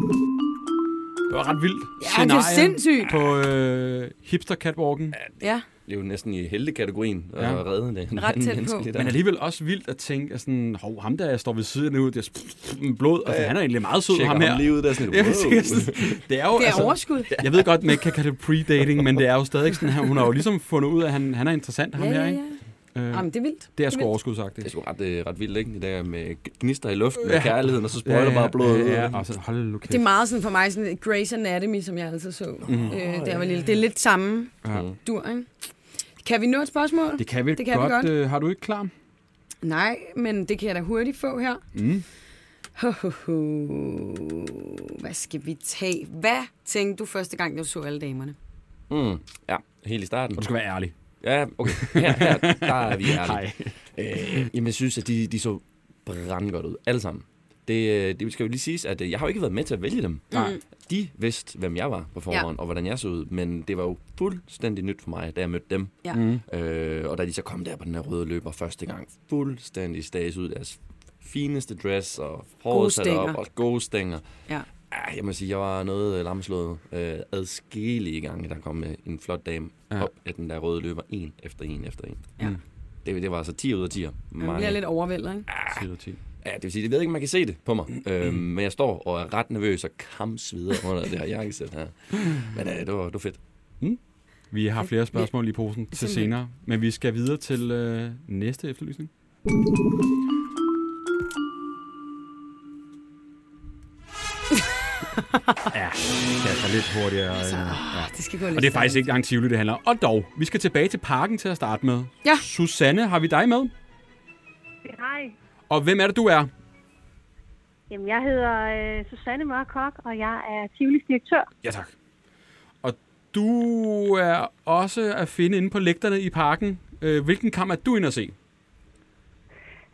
[SPEAKER 1] Det var ret vildt
[SPEAKER 2] Ja, det er sindssygt.
[SPEAKER 1] på øh, hipster-catwalken.
[SPEAKER 2] Ja,
[SPEAKER 3] Det er jo næsten i heltekategorien at
[SPEAKER 1] Ja.
[SPEAKER 3] ja. redde det. en
[SPEAKER 2] Ret
[SPEAKER 3] anden
[SPEAKER 2] tæt på.
[SPEAKER 3] menneske, der.
[SPEAKER 1] Men alligevel også vildt at tænke, at sådan, hov, ham der står ved siden nu, det er sådan blod, og han er egentlig meget sød,
[SPEAKER 3] Tjekker
[SPEAKER 1] ham her.
[SPEAKER 3] ham lige ud, der er sådan
[SPEAKER 1] Ja,
[SPEAKER 3] lidt,
[SPEAKER 1] præcis.
[SPEAKER 3] wow.
[SPEAKER 1] det er jo,
[SPEAKER 2] det er
[SPEAKER 1] altså,
[SPEAKER 2] overskud.
[SPEAKER 1] Jeg ved godt, man ikke kan kalde det predating, men det er jo stadig sådan, her. hun har jo ligesom fundet ud af, at han, han er interessant, ham
[SPEAKER 2] Ja,
[SPEAKER 1] her,
[SPEAKER 2] ja,
[SPEAKER 1] ikke?
[SPEAKER 2] ja.
[SPEAKER 1] Øh,
[SPEAKER 2] Jamen, det er vildt.
[SPEAKER 1] det er
[SPEAKER 2] vildt.
[SPEAKER 1] sgu overskudsagtigt.
[SPEAKER 3] Det er sgu ret, øh, ret vildt, ikke? Det der med gnister i luften, med
[SPEAKER 1] Ja.
[SPEAKER 3] kærligheden, og så sprøjter ja, ja, bare blodet.
[SPEAKER 1] Ja, ja, og sådan, hold nu kæft.
[SPEAKER 2] Det er meget sådan for mig sådan Grey's Anatomy, som jeg altid så, mm. øh, da jeg var lille. Det er lidt samme
[SPEAKER 1] Ja.
[SPEAKER 2] dur, ikke? Kan vi nå et spørgsmål?
[SPEAKER 1] Det kan vi
[SPEAKER 2] Det kan vi
[SPEAKER 1] godt.
[SPEAKER 2] godt.
[SPEAKER 1] Øh, har du ikke klar?
[SPEAKER 2] Nej, men det kan jeg da hurtigt få her.
[SPEAKER 1] Mm.
[SPEAKER 2] Ho, ho, ho. Hvad skal vi tage? Hvad tænkte du første gang, du så alle damerne?
[SPEAKER 3] Mm, ja, helt i starten.
[SPEAKER 1] Og du skal være ærlig.
[SPEAKER 3] Ja, okay. Her, her, der er vi ærlige.
[SPEAKER 1] Hej.
[SPEAKER 3] Øh, jamen, jeg synes, at de, de så brandgodt ud. Alle sammen. Det, øh, det skal jo lige siges, at øh, jeg har jo ikke været med til at vælge dem.
[SPEAKER 1] Nej.
[SPEAKER 3] De vidste, hvem jeg var på forhånd, ja. og hvordan jeg så ud. Men det var jo fuldstændig nyt for mig, da jeg mødte dem.
[SPEAKER 2] Ja.
[SPEAKER 1] Mm.
[SPEAKER 3] Øh, og da de så kom der på den her røde løber første gang, fuldstændig stages ud. Deres fineste dress og
[SPEAKER 2] Gode
[SPEAKER 3] håret sat op
[SPEAKER 2] stænger.
[SPEAKER 3] og gode stænger.
[SPEAKER 2] Ja.
[SPEAKER 3] Ah, jeg må sige, jeg var noget øh, lamslået øh, adskillige gange, der kom øh, en flot dame
[SPEAKER 1] Ja.
[SPEAKER 3] ja. op af den der røde løber, en efter en efter en.
[SPEAKER 2] Ja.
[SPEAKER 3] Det, det var altså 10 ud af 10.
[SPEAKER 2] Man bliver lidt overvældet, ikke?
[SPEAKER 3] Ah. Ja, det vil sige, jeg ved ikke, om man kan se det på
[SPEAKER 2] Mm.
[SPEAKER 3] mig, øhm, men jeg står og er ret nervøs og kamsvider under det her jakkesæt her. Men øh, det, var, det var fedt.
[SPEAKER 1] Vi har flere spørgsmål i posen til
[SPEAKER 2] Simpelthen.
[SPEAKER 1] senere, men vi skal videre til øh, næste efterlysning. ja, kaster lidt hurtigere. Øh, ja.
[SPEAKER 2] Det skal gå lidt
[SPEAKER 1] Og det er faktisk
[SPEAKER 2] stærkt.
[SPEAKER 1] ikke engang Tivoli, det handler om. Og dog, vi skal tilbage til parken til at starte med.
[SPEAKER 2] Ja.
[SPEAKER 1] Susanne, har vi dig med?
[SPEAKER 6] Hej.
[SPEAKER 1] Og hvem er det, du er?
[SPEAKER 6] Jamen, jeg hedder øh, Susanne Mørkok, og jeg er Tivolis direktør.
[SPEAKER 1] Ja, tak. Og du er også at finde inde på lægterne i parken. Øh, Hvilken kamp er du inde at se?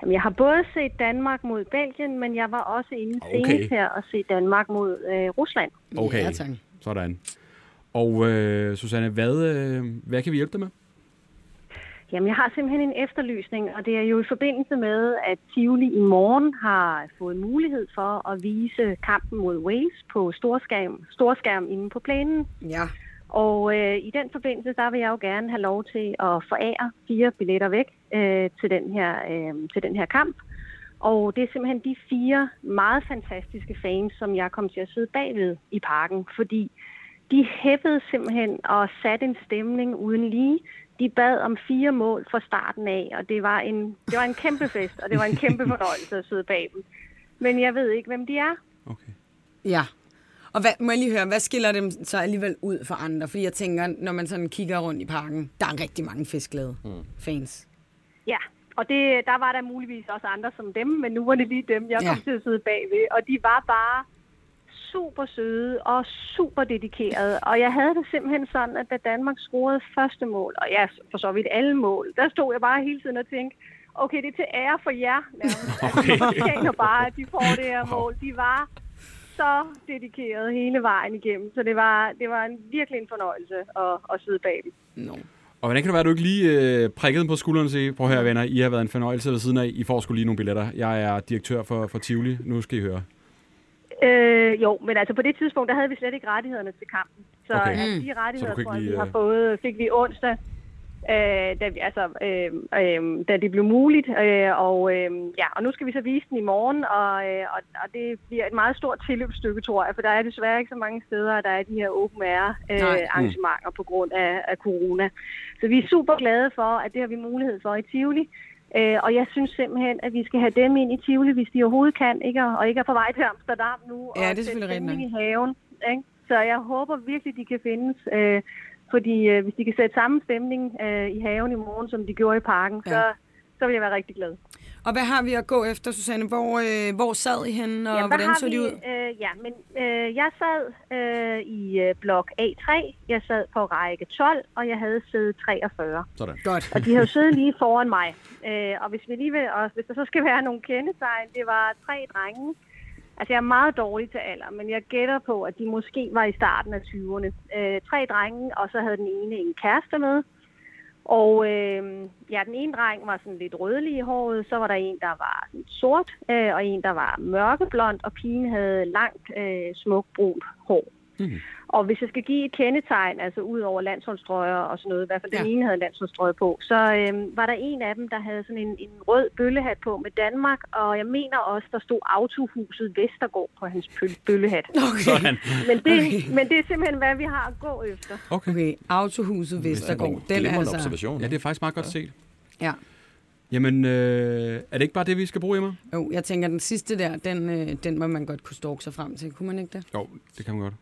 [SPEAKER 6] Jamen, jeg har både set Danmark mod Belgien, men jeg var også inde
[SPEAKER 1] Okay.
[SPEAKER 6] okay. senest her og se Danmark mod øh, Rusland.
[SPEAKER 1] Okay.
[SPEAKER 2] Ja, tak.
[SPEAKER 1] Sådan. Og øh, Susanne, hvad, øh, hvad kan vi hjælpe dig med?
[SPEAKER 6] Jamen, jeg har simpelthen en efterlysning, og det er jo i forbindelse med, at Tivoli i morgen har fået mulighed for at vise kampen mod Wales på storskærm, storskærm inde på plænen.
[SPEAKER 2] Ja.
[SPEAKER 6] Og øh, i den forbindelse, der vil jeg jo gerne have lov til at forære fire billetter væk øh, til, den her, øh, til den her kamp. Og det er simpelthen de fire meget fantastiske fans, som jeg kom til at sidde bagved i parken, fordi de hæppede simpelthen og satte en stemning uden lige. De bad om fire mål fra starten af, og det var en, det var en kæmpe fest, og det var en kæmpe fornøjelse at sidde bag dem. Men jeg ved ikke, hvem de er.
[SPEAKER 1] Okay.
[SPEAKER 2] Ja. Og hvad, må jeg lige høre, hvad skiller dem så alligevel ud fra andre? Fordi jeg tænker, når man sådan kigger rundt i parken, der er rigtig mange fiskglade fans.
[SPEAKER 6] Ja, og det, der var der muligvis også andre som dem, men nu var det lige dem, jeg kom
[SPEAKER 2] Ja.
[SPEAKER 6] til at sidde bagved. Og de var bare super søde og super dedikerede. Og jeg havde det simpelthen sådan, at da Danmark scorede første mål, og ja, for så vidt alle mål, der stod jeg bare hele tiden og tænkte, okay, det er til ære for jer. nærmest. Altså, de fortjener bare, at de får det her mål. De var så dedikerede hele vejen igennem, så det var, det var en, virkelig en fornøjelse at, at sidde bag dem.
[SPEAKER 2] No.
[SPEAKER 1] Og hvordan kan det være, at du ikke lige øh, prikkede dem på skulderen og sagde, prøv her venner, I har været en fornøjelse ved siden af, I får skulle lige nogle billetter. Jeg er direktør for, for Tivoli, nu skal I høre.
[SPEAKER 6] Øh, jo, men altså på det tidspunkt, der havde vi slet ikke rettighederne til kampen. Så
[SPEAKER 1] Okay.
[SPEAKER 6] okay. altså, de rettigheder,
[SPEAKER 1] Mm. Så du
[SPEAKER 6] så
[SPEAKER 1] fik
[SPEAKER 6] tror jeg,
[SPEAKER 1] lige,
[SPEAKER 6] vi har
[SPEAKER 1] øh,
[SPEAKER 6] fået, fik vi onsdag, øh, da, vi, altså, øh, øh, da det blev muligt. Øh, og, øh, ja, og nu skal vi så vise den i morgen, og, øh, og, og det bliver et meget stort tilløbsstykke, tror jeg, for der er desværre ikke så mange steder, at der er de her open air
[SPEAKER 2] Nej. Mm.
[SPEAKER 6] øh, arrangementer på grund af, af corona. Så vi er super glade for, at det har vi mulighed for i Tivoli. Øh, og jeg synes simpelthen, at vi skal have dem ind i Tivoli, hvis de overhovedet kan, ikke? og og ikke er på vej til Amsterdam nu.
[SPEAKER 2] Ja,
[SPEAKER 6] og
[SPEAKER 2] det er selvfølgelig
[SPEAKER 6] sætte
[SPEAKER 2] rigtigt
[SPEAKER 6] stemning i haven. Ikke? Så jeg håber virkelig, de kan findes. Øh, fordi øh, hvis de kan sætte samme stemning øh, i haven i morgen, som de gjorde i parken, ja. så,
[SPEAKER 2] Ja.
[SPEAKER 6] så vil jeg være rigtig glad.
[SPEAKER 2] Og hvad har vi at gå efter, Susanne? Hvor, øh, hvor sad I henne, og
[SPEAKER 6] Jamen, hvad
[SPEAKER 2] hvordan
[SPEAKER 6] har
[SPEAKER 2] så de
[SPEAKER 6] vi?
[SPEAKER 2] ud?
[SPEAKER 6] Øh, ja, men øh, jeg sad øh, i øh, blok A3, jeg sad på række 12, og jeg havde sæde 43.
[SPEAKER 1] Sådan.
[SPEAKER 2] Godt.
[SPEAKER 6] Og de har jo siddet lige foran mig. Øh, og hvis, vi lige vil, og hvis der så skal være nogle kendetegn, det var tre drenge. Altså, jeg er meget dårlig til alder, men jeg gætter på, at de måske var i starten af 20'erne. Øh, tre drenge, og så havde den ene en kæreste med. Og øh, ja, den ene dreng var sådan lidt rødlig i håret, så var der en, der var sådan sort, øh, og en, der var mørkeblond, og pigen havde langt, øh, smukt brunt hår. Og hvis jeg skal give et kendetegn, altså ud over landsholdstrøjer og sådan noget, i hvert fald ja. den
[SPEAKER 2] Ja.
[SPEAKER 6] ene havde en landsholdstrøje på, så øhm, var der en af dem, der havde sådan en, en rød bøllehat på med Danmark, og jeg mener også, der stod autohuset Vestergaard på hans bøl- bøllehat.
[SPEAKER 2] Okay.
[SPEAKER 6] Men det, okay. men det er simpelthen, hvad vi har at gå efter.
[SPEAKER 1] Okay.
[SPEAKER 2] okay.
[SPEAKER 1] Mm,
[SPEAKER 2] Autohuset Vestergaard. Den er altså...
[SPEAKER 3] observation.
[SPEAKER 1] Ja, det er faktisk meget godt set.
[SPEAKER 2] Ja.
[SPEAKER 1] Jamen, øh, er det ikke bare det, vi skal bruge, Emma?
[SPEAKER 2] Jo, jeg tænker, den sidste der, den, øh, den må man godt kunne stalke sig frem til. Kunne man ikke det?
[SPEAKER 1] Jo, det kan man godt.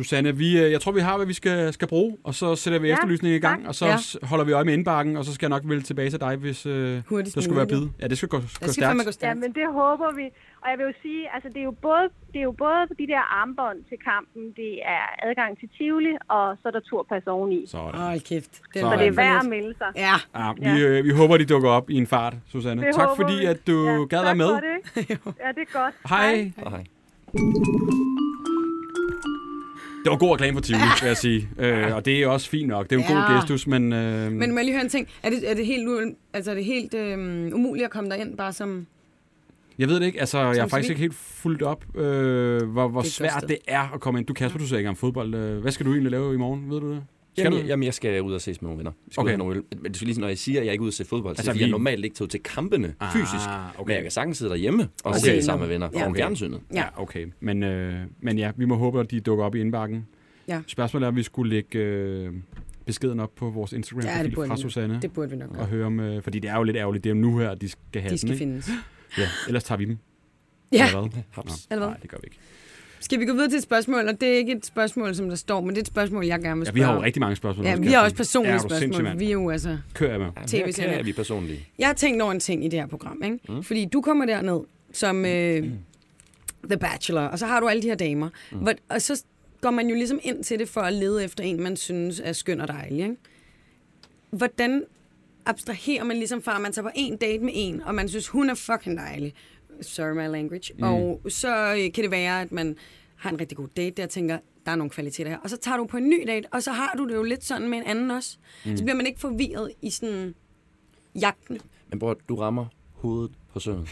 [SPEAKER 1] Susanne, vi, øh, jeg tror, vi har, hvad vi skal, skal bruge, og så sætter vi ja,
[SPEAKER 6] Ja,
[SPEAKER 1] efterlysningen i gang,
[SPEAKER 6] tak.
[SPEAKER 1] og så
[SPEAKER 2] Ja.
[SPEAKER 1] s- holder vi øje med indbakken, og så skal jeg nok vælge tilbage til dig, hvis øh,
[SPEAKER 2] Hurtigst
[SPEAKER 1] der skulle være
[SPEAKER 2] muligt.
[SPEAKER 1] bid. Ja, det skal gå, gå
[SPEAKER 2] Der
[SPEAKER 1] stærkt.
[SPEAKER 2] skal fandme gå stærkt.
[SPEAKER 6] Ja, men det håber vi. Og jeg vil jo sige, altså det er jo både, det er jo både de der armbånd til kampen, det er adgang til Tivoli, og så er der turpas oveni. Så,
[SPEAKER 1] Sådan.
[SPEAKER 2] Hold kæft. Den
[SPEAKER 1] Så
[SPEAKER 2] var
[SPEAKER 1] er
[SPEAKER 6] det er
[SPEAKER 2] for
[SPEAKER 6] værd at
[SPEAKER 2] lidt.
[SPEAKER 6] melde sig.
[SPEAKER 2] Ja,
[SPEAKER 1] Ja, vi,
[SPEAKER 6] Ja.
[SPEAKER 1] Øh, vi håber, de dukker op i en fart, Susanne.
[SPEAKER 6] Det
[SPEAKER 1] tak
[SPEAKER 6] håber
[SPEAKER 1] fordi,
[SPEAKER 6] vi.
[SPEAKER 1] at du gad
[SPEAKER 6] tak
[SPEAKER 1] være med.
[SPEAKER 6] For det. ja, det er godt.
[SPEAKER 1] Hej.
[SPEAKER 3] Hej.
[SPEAKER 1] Det var god reklame for Tivoli, vil jeg sige. Øh, og det er også fint nok. Det er jo en
[SPEAKER 2] Ja.
[SPEAKER 1] god gestus, men... Øh,
[SPEAKER 2] men må jeg lige høre en ting? Er det, er det helt, u- altså, er det helt øh, umuligt at komme derind, bare som...
[SPEAKER 1] Jeg ved det ikke. Altså, jeg har
[SPEAKER 2] Som
[SPEAKER 1] faktisk
[SPEAKER 2] civil?
[SPEAKER 1] ikke helt fuldt op, øh, hvor, hvor
[SPEAKER 2] Det er et godt
[SPEAKER 1] svært
[SPEAKER 2] sted.
[SPEAKER 1] det er at komme ind. Du, Kasper, du ser ikke om fodbold. Øh, Hvad skal du egentlig lave i morgen? Ved du det? Skal
[SPEAKER 3] Jamen,
[SPEAKER 1] du?
[SPEAKER 3] jamen, jeg skal ud og ses med nogle venner. Vi skal
[SPEAKER 1] Okay.
[SPEAKER 3] okay. ud og have nogle øl. Men det skal lige, når jeg siger, at jeg ikke er ude og se fodbold, så
[SPEAKER 1] Altså,
[SPEAKER 3] altså, fordi
[SPEAKER 1] vi-
[SPEAKER 3] jeg normalt ikke tager ud til kampene
[SPEAKER 1] Ah,
[SPEAKER 3] ah, fysisk.
[SPEAKER 1] okay.
[SPEAKER 3] Okay. Men jeg kan sagtens sidde derhjemme og
[SPEAKER 2] Og
[SPEAKER 3] okay.
[SPEAKER 2] se
[SPEAKER 3] se det sammen med venner
[SPEAKER 2] Ja.
[SPEAKER 3] ja. om
[SPEAKER 2] Okay.
[SPEAKER 3] fjernsynet.
[SPEAKER 1] Ja, okay. Men, øh, men ja, vi må håbe, at de dukker op i indbakken.
[SPEAKER 2] Ja.
[SPEAKER 1] Spørgsmålet er, om vi skulle lægge øh, beskeden op på vores
[SPEAKER 2] Ja, det
[SPEAKER 1] Instagram-profil
[SPEAKER 2] burde
[SPEAKER 1] fra
[SPEAKER 2] vi.
[SPEAKER 1] Susanne.
[SPEAKER 2] Det burde vi nok
[SPEAKER 1] Og
[SPEAKER 2] gøre.
[SPEAKER 1] høre om, øh, fordi det er jo lidt ærgerligt. Det er jo nu her, de skal have
[SPEAKER 2] De skal
[SPEAKER 1] den, ikke?
[SPEAKER 2] findes.
[SPEAKER 1] Ja, ellers tager vi dem.
[SPEAKER 2] Ja,
[SPEAKER 1] Eller hvad?
[SPEAKER 3] Haps.
[SPEAKER 1] Nå,
[SPEAKER 2] Eller hvad?
[SPEAKER 1] nej, det gør vi ikke.
[SPEAKER 2] skal vi gå videre til et spørgsmål? Og det er ikke et spørgsmål, som der står, men det er et spørgsmål, jeg gerne vil
[SPEAKER 1] Ja,
[SPEAKER 2] spørge.
[SPEAKER 1] vi har jo
[SPEAKER 2] om.
[SPEAKER 1] rigtig mange spørgsmål.
[SPEAKER 2] Ja,
[SPEAKER 1] nu,
[SPEAKER 2] vi har
[SPEAKER 1] Kasper.
[SPEAKER 2] også personlige
[SPEAKER 1] Ja,
[SPEAKER 2] ja,
[SPEAKER 1] er du sindssyg,
[SPEAKER 2] spørgsmål.
[SPEAKER 1] mand?
[SPEAKER 2] Vi er jo altså...
[SPEAKER 1] Kører jeg med.
[SPEAKER 3] Ja,
[SPEAKER 2] TV-serier.
[SPEAKER 3] her er vi personlige.
[SPEAKER 2] Jeg har tænkt over en ting i det her program, ikke? Mm. Fordi du kommer derned som øh, The Bachelor, og så har du alle de her damer. Mm. Hvor, og så går man jo ligesom ind til det for at lede efter en, man synes er skøn og dejlig, ikke? Hvordan abstraherer man ligesom fra, at man tager på en date med en, og man synes, hun er fucking dejlig. Sorry my language. Mm. Og så øh, kan det være, at man har en rigtig god date, der tænker, der er nogle kvaliteter her. Og så tager du på en ny date, og så har du det jo lidt sådan med en anden også. Mm. Så bliver man ikke forvirret i sådan jagten.
[SPEAKER 3] Men bror, du rammer hovedet på sømmet.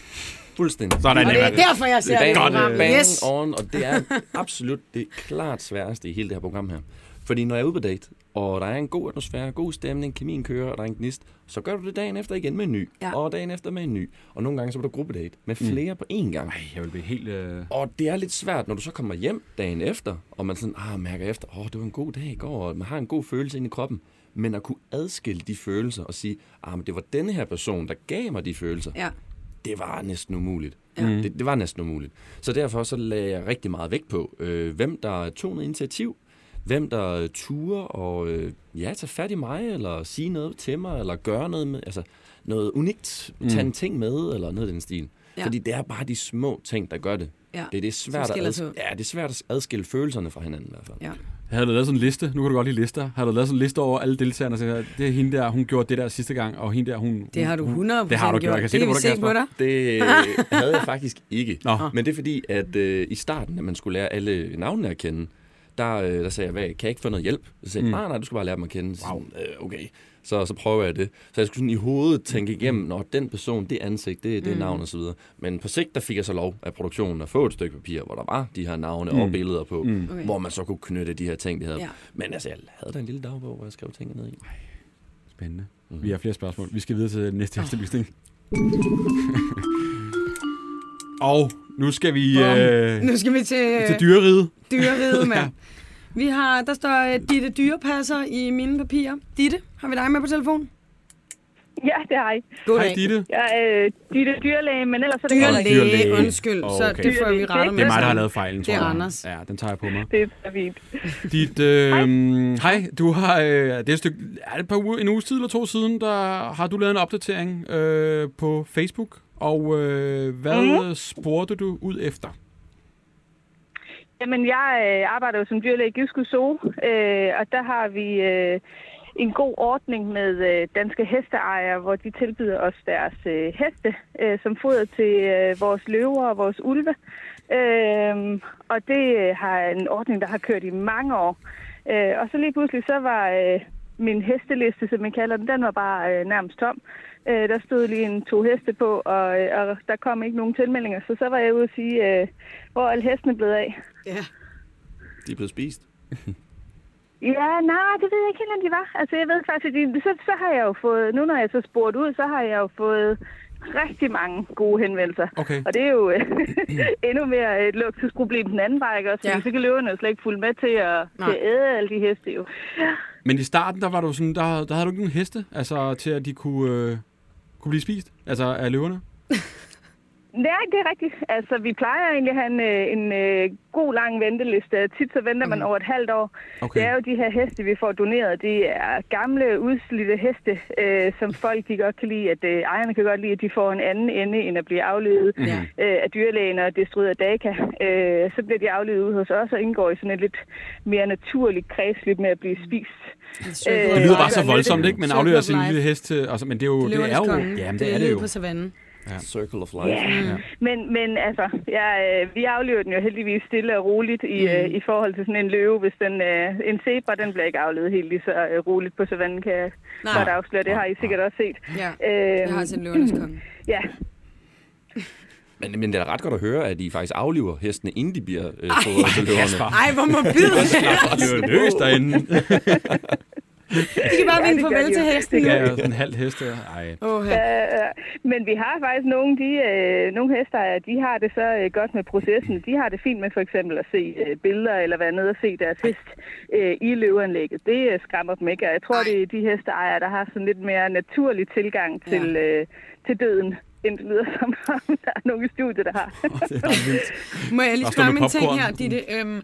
[SPEAKER 3] Fuldstændig.
[SPEAKER 1] Sådan,
[SPEAKER 2] Og det
[SPEAKER 1] Emma.
[SPEAKER 2] er derfor, jeg ser det
[SPEAKER 1] Godt,
[SPEAKER 2] program.
[SPEAKER 1] øh,
[SPEAKER 3] bang
[SPEAKER 2] Yes.
[SPEAKER 3] on, og det er absolut det klart sværeste i hele det her program her. Fordi når jeg er ude på date, og der er en god atmosfære, god stemning, kemien kører, og der er en gnist, så gør du det dagen efter igen med en ny,
[SPEAKER 2] Ja.
[SPEAKER 3] og dagen efter med en ny. Og nogle gange så er der gruppedate med flere mm. på én gang.
[SPEAKER 1] Ej, jeg vil blive helt... Øh...
[SPEAKER 3] Og det er lidt svært, når du så kommer hjem dagen efter, og man sådan, ah, mærker efter, åh, oh, det var en god dag i går, og man har en god følelse inde i kroppen. Men at kunne adskille de følelser og sige, ah, men det var denne her person, der gav mig de følelser,
[SPEAKER 2] Ja.
[SPEAKER 3] det var næsten umuligt. Ja. Det, det var næsten umuligt. Så derfor så lagde jeg rigtig meget vægt på, øh, hvem der tog noget initiativ, hvem der øh, turer og øh, ja, tage fat i mig, eller sige noget til mig, eller gøre noget med, altså noget unikt, mm. tage en ting med, eller noget af den stil.
[SPEAKER 2] Ja.
[SPEAKER 3] Ja. Fordi det er bare de små ting, der gør det.
[SPEAKER 2] Ja,
[SPEAKER 3] Det, det, er
[SPEAKER 2] som
[SPEAKER 3] svært at
[SPEAKER 2] skiller
[SPEAKER 3] ads-
[SPEAKER 2] sig ud.
[SPEAKER 3] ja, det er svært at adskille følelserne fra hinanden i hvert fald.
[SPEAKER 2] ja.
[SPEAKER 1] Havde du lavet sådan en liste? Nu kan du godt lide lister. Havde du lavet sådan en liste over alle deltagerne? og Så det er hende der, hun gjorde det der sidste gang, og hende der, hun...
[SPEAKER 2] Det har du 100%
[SPEAKER 1] Det har du gjort.
[SPEAKER 2] gjort.
[SPEAKER 1] Jeg kan se
[SPEAKER 2] det
[SPEAKER 1] det på
[SPEAKER 2] vi
[SPEAKER 1] dig,
[SPEAKER 2] se på
[SPEAKER 1] Kasper.
[SPEAKER 2] dig.
[SPEAKER 3] Det havde jeg faktisk ikke.
[SPEAKER 1] Nå.
[SPEAKER 3] Men det er fordi, at øh, i starten, at man skulle lære alle navnene at kende, der, øh, der sagde jeg, hvad, kan jeg ikke få noget hjælp? Så sagde mm. nej, nej, du skal bare lære dem at kende. Så, wow. øh, okay, så, så prøver jeg det. Så jeg skulle sådan i hovedet tænke igennem, når den person, det ansigt, det, det mm. navn og så videre. Men på sigt, der fik jeg så lov af produktionen at få et stykke papir, hvor der var de her navne mm. og billeder på, mm.
[SPEAKER 2] Okay.
[SPEAKER 3] hvor man så kunne knytte de her ting, vi havde.
[SPEAKER 2] Ja.
[SPEAKER 3] Ja. Men altså, jeg havde da en lille dagbog, hvor jeg skrev ting ned i.
[SPEAKER 1] Spændende. Vi har flere spørgsmål. Vi skal videre til næste oh. efterlysning. og nu skal vi øh,
[SPEAKER 2] Nu skal vi til,
[SPEAKER 1] til dyreriget.
[SPEAKER 2] dyreriget, mand. Vi har, der står øh, Ditte Dyrepasser i mine papirer. Ditte, har vi dig med på telefon?
[SPEAKER 7] Ja, det har jeg.
[SPEAKER 1] Hej Ditte.
[SPEAKER 7] Jeg er øh, dyre dyrlæge, men ellers er det...
[SPEAKER 1] Dyrlæge.
[SPEAKER 2] Dyrlæge, undskyld.
[SPEAKER 1] Åh,
[SPEAKER 2] Så
[SPEAKER 1] okay.
[SPEAKER 2] det får vi rettet med.
[SPEAKER 1] Det er mig, der har lavet fejlen, tror
[SPEAKER 2] Det er
[SPEAKER 1] jeg.
[SPEAKER 2] Anders.
[SPEAKER 1] Ja, den tager jeg på mig.
[SPEAKER 7] Det er fint.
[SPEAKER 1] Dit, øh, hej, du har, øh, det er et, stykke, er det et par uger, en uges tid eller to siden, der har du lavet en opdatering øh, på Facebook, og øh, hvad mm. spurgte du ud efter?
[SPEAKER 7] Jamen, jeg øh, arbejder jo som dyrlæge i Jyske Zoo, øh, og der har vi øh, en god ordning med øh, danske hesteejere, hvor de tilbyder os deres øh, heste øh, som foder til øh, vores løver og vores ulve. Øh, og det øh, har en ordning, der har kørt i mange år. Øh, og så lige pludselig, så var øh, min hesteliste, som man kalder den, den var bare øh, nærmest tom. Øh, der stod lige en to heste på, og, øh, og der kom ikke nogen tilmeldinger. Så så var jeg ude og sige, øh, hvor er alle hestene blevet af?
[SPEAKER 2] Ja.
[SPEAKER 3] De er blevet spist.
[SPEAKER 7] Ja, nej, det ved jeg ikke helt, om de var. Altså, jeg ved faktisk, at de, så, så har jeg jo fået, nu når jeg så spurgt ud, så har jeg jo fået rigtig mange gode henvendelser.
[SPEAKER 1] Okay.
[SPEAKER 7] Og det er jo øh, endnu mere et luksusproblem den anden vej, ikke også? Fordi
[SPEAKER 2] Ja.
[SPEAKER 7] ja. så kan løverne jo slet ikke fulde med til at, til at æde alle de heste jo.
[SPEAKER 1] Men i starten, der var du sådan, der, der havde du ikke nogen heste, altså til at de kunne, øh, kunne blive spist, altså af løverne?
[SPEAKER 7] Nej, det er rigtigt. Altså, vi plejer egentlig at have en, øh, en øh, god lang venteliste. Tit så venter man over et halvt år.
[SPEAKER 1] Okay.
[SPEAKER 7] Det er jo de her heste, vi får doneret. Det er gamle, udslidte heste, øh, som folk de godt kan lide, at øh, ejerne kan godt lide, at de får en anden ende, end at blive aflevet
[SPEAKER 2] Ja.
[SPEAKER 7] øh, af dyrlægen og destrueret af Daka. Øh, så bliver de aflevet ude hos os og indgår i sådan et lidt mere naturligt kredsløb med at blive spist.
[SPEAKER 1] Det
[SPEAKER 7] Øh,
[SPEAKER 1] lyder
[SPEAKER 7] ja,
[SPEAKER 1] bare så
[SPEAKER 7] det er
[SPEAKER 1] voldsomt,
[SPEAKER 7] lidt-
[SPEAKER 1] ikke? Man
[SPEAKER 2] Circle
[SPEAKER 1] afleverer
[SPEAKER 2] of
[SPEAKER 1] sin
[SPEAKER 2] life.
[SPEAKER 1] lille hest til, altså, men det er jo, det, er jo, jamen, det er det jo.
[SPEAKER 2] på savannen.
[SPEAKER 3] Ja. Circle of life. Yeah.
[SPEAKER 7] Men, men altså, jeg, øh, vi aflever den jo heldigvis stille og roligt i, mm. øh, i forhold til sådan en løve. Hvis den, øh, en zebra, den bliver ikke aflevet helt lige så øh, roligt på savannen, kan jeg
[SPEAKER 2] Nej.
[SPEAKER 7] godt afsløre. Det har I sikkert også set.
[SPEAKER 2] Ja.
[SPEAKER 1] Øhm.
[SPEAKER 7] Øh,
[SPEAKER 2] Jeg har set løvernes konge.
[SPEAKER 7] ja.
[SPEAKER 3] Men, men det er da ret godt at høre, at I faktisk afliver hestene, inden de bliver øh, fodret til løverne.
[SPEAKER 2] Ej, hvor morbid.
[SPEAKER 1] Det er jo løs derinde.
[SPEAKER 2] De kan bare
[SPEAKER 7] Ja,
[SPEAKER 2] vinke
[SPEAKER 7] det gør
[SPEAKER 2] farvel
[SPEAKER 7] de
[SPEAKER 2] til
[SPEAKER 7] jo.
[SPEAKER 2] hesten.
[SPEAKER 1] Ja, og sådan en halv heste. Ej.
[SPEAKER 2] Åh, ja.
[SPEAKER 7] Øh, men vi har faktisk nogle, de, øh, nogle hester, de har det så øh, godt med processen. De har det fint med for eksempel at se øh, billeder eller være nede og se deres hest øh, i løveanlægget. Det øh, skræmmer dem ikke, og jeg tror,
[SPEAKER 2] Ej.
[SPEAKER 7] det er de hesteejere, der har sådan lidt mere naturlig tilgang til,
[SPEAKER 2] Ja.
[SPEAKER 7] øh, til døden end det lyder som om, der er nogle studier, der har.
[SPEAKER 2] Må jeg lige
[SPEAKER 1] Og stå
[SPEAKER 2] spørge
[SPEAKER 1] med
[SPEAKER 2] min ting
[SPEAKER 1] popcorn.
[SPEAKER 2] her, Ditte? Øhm,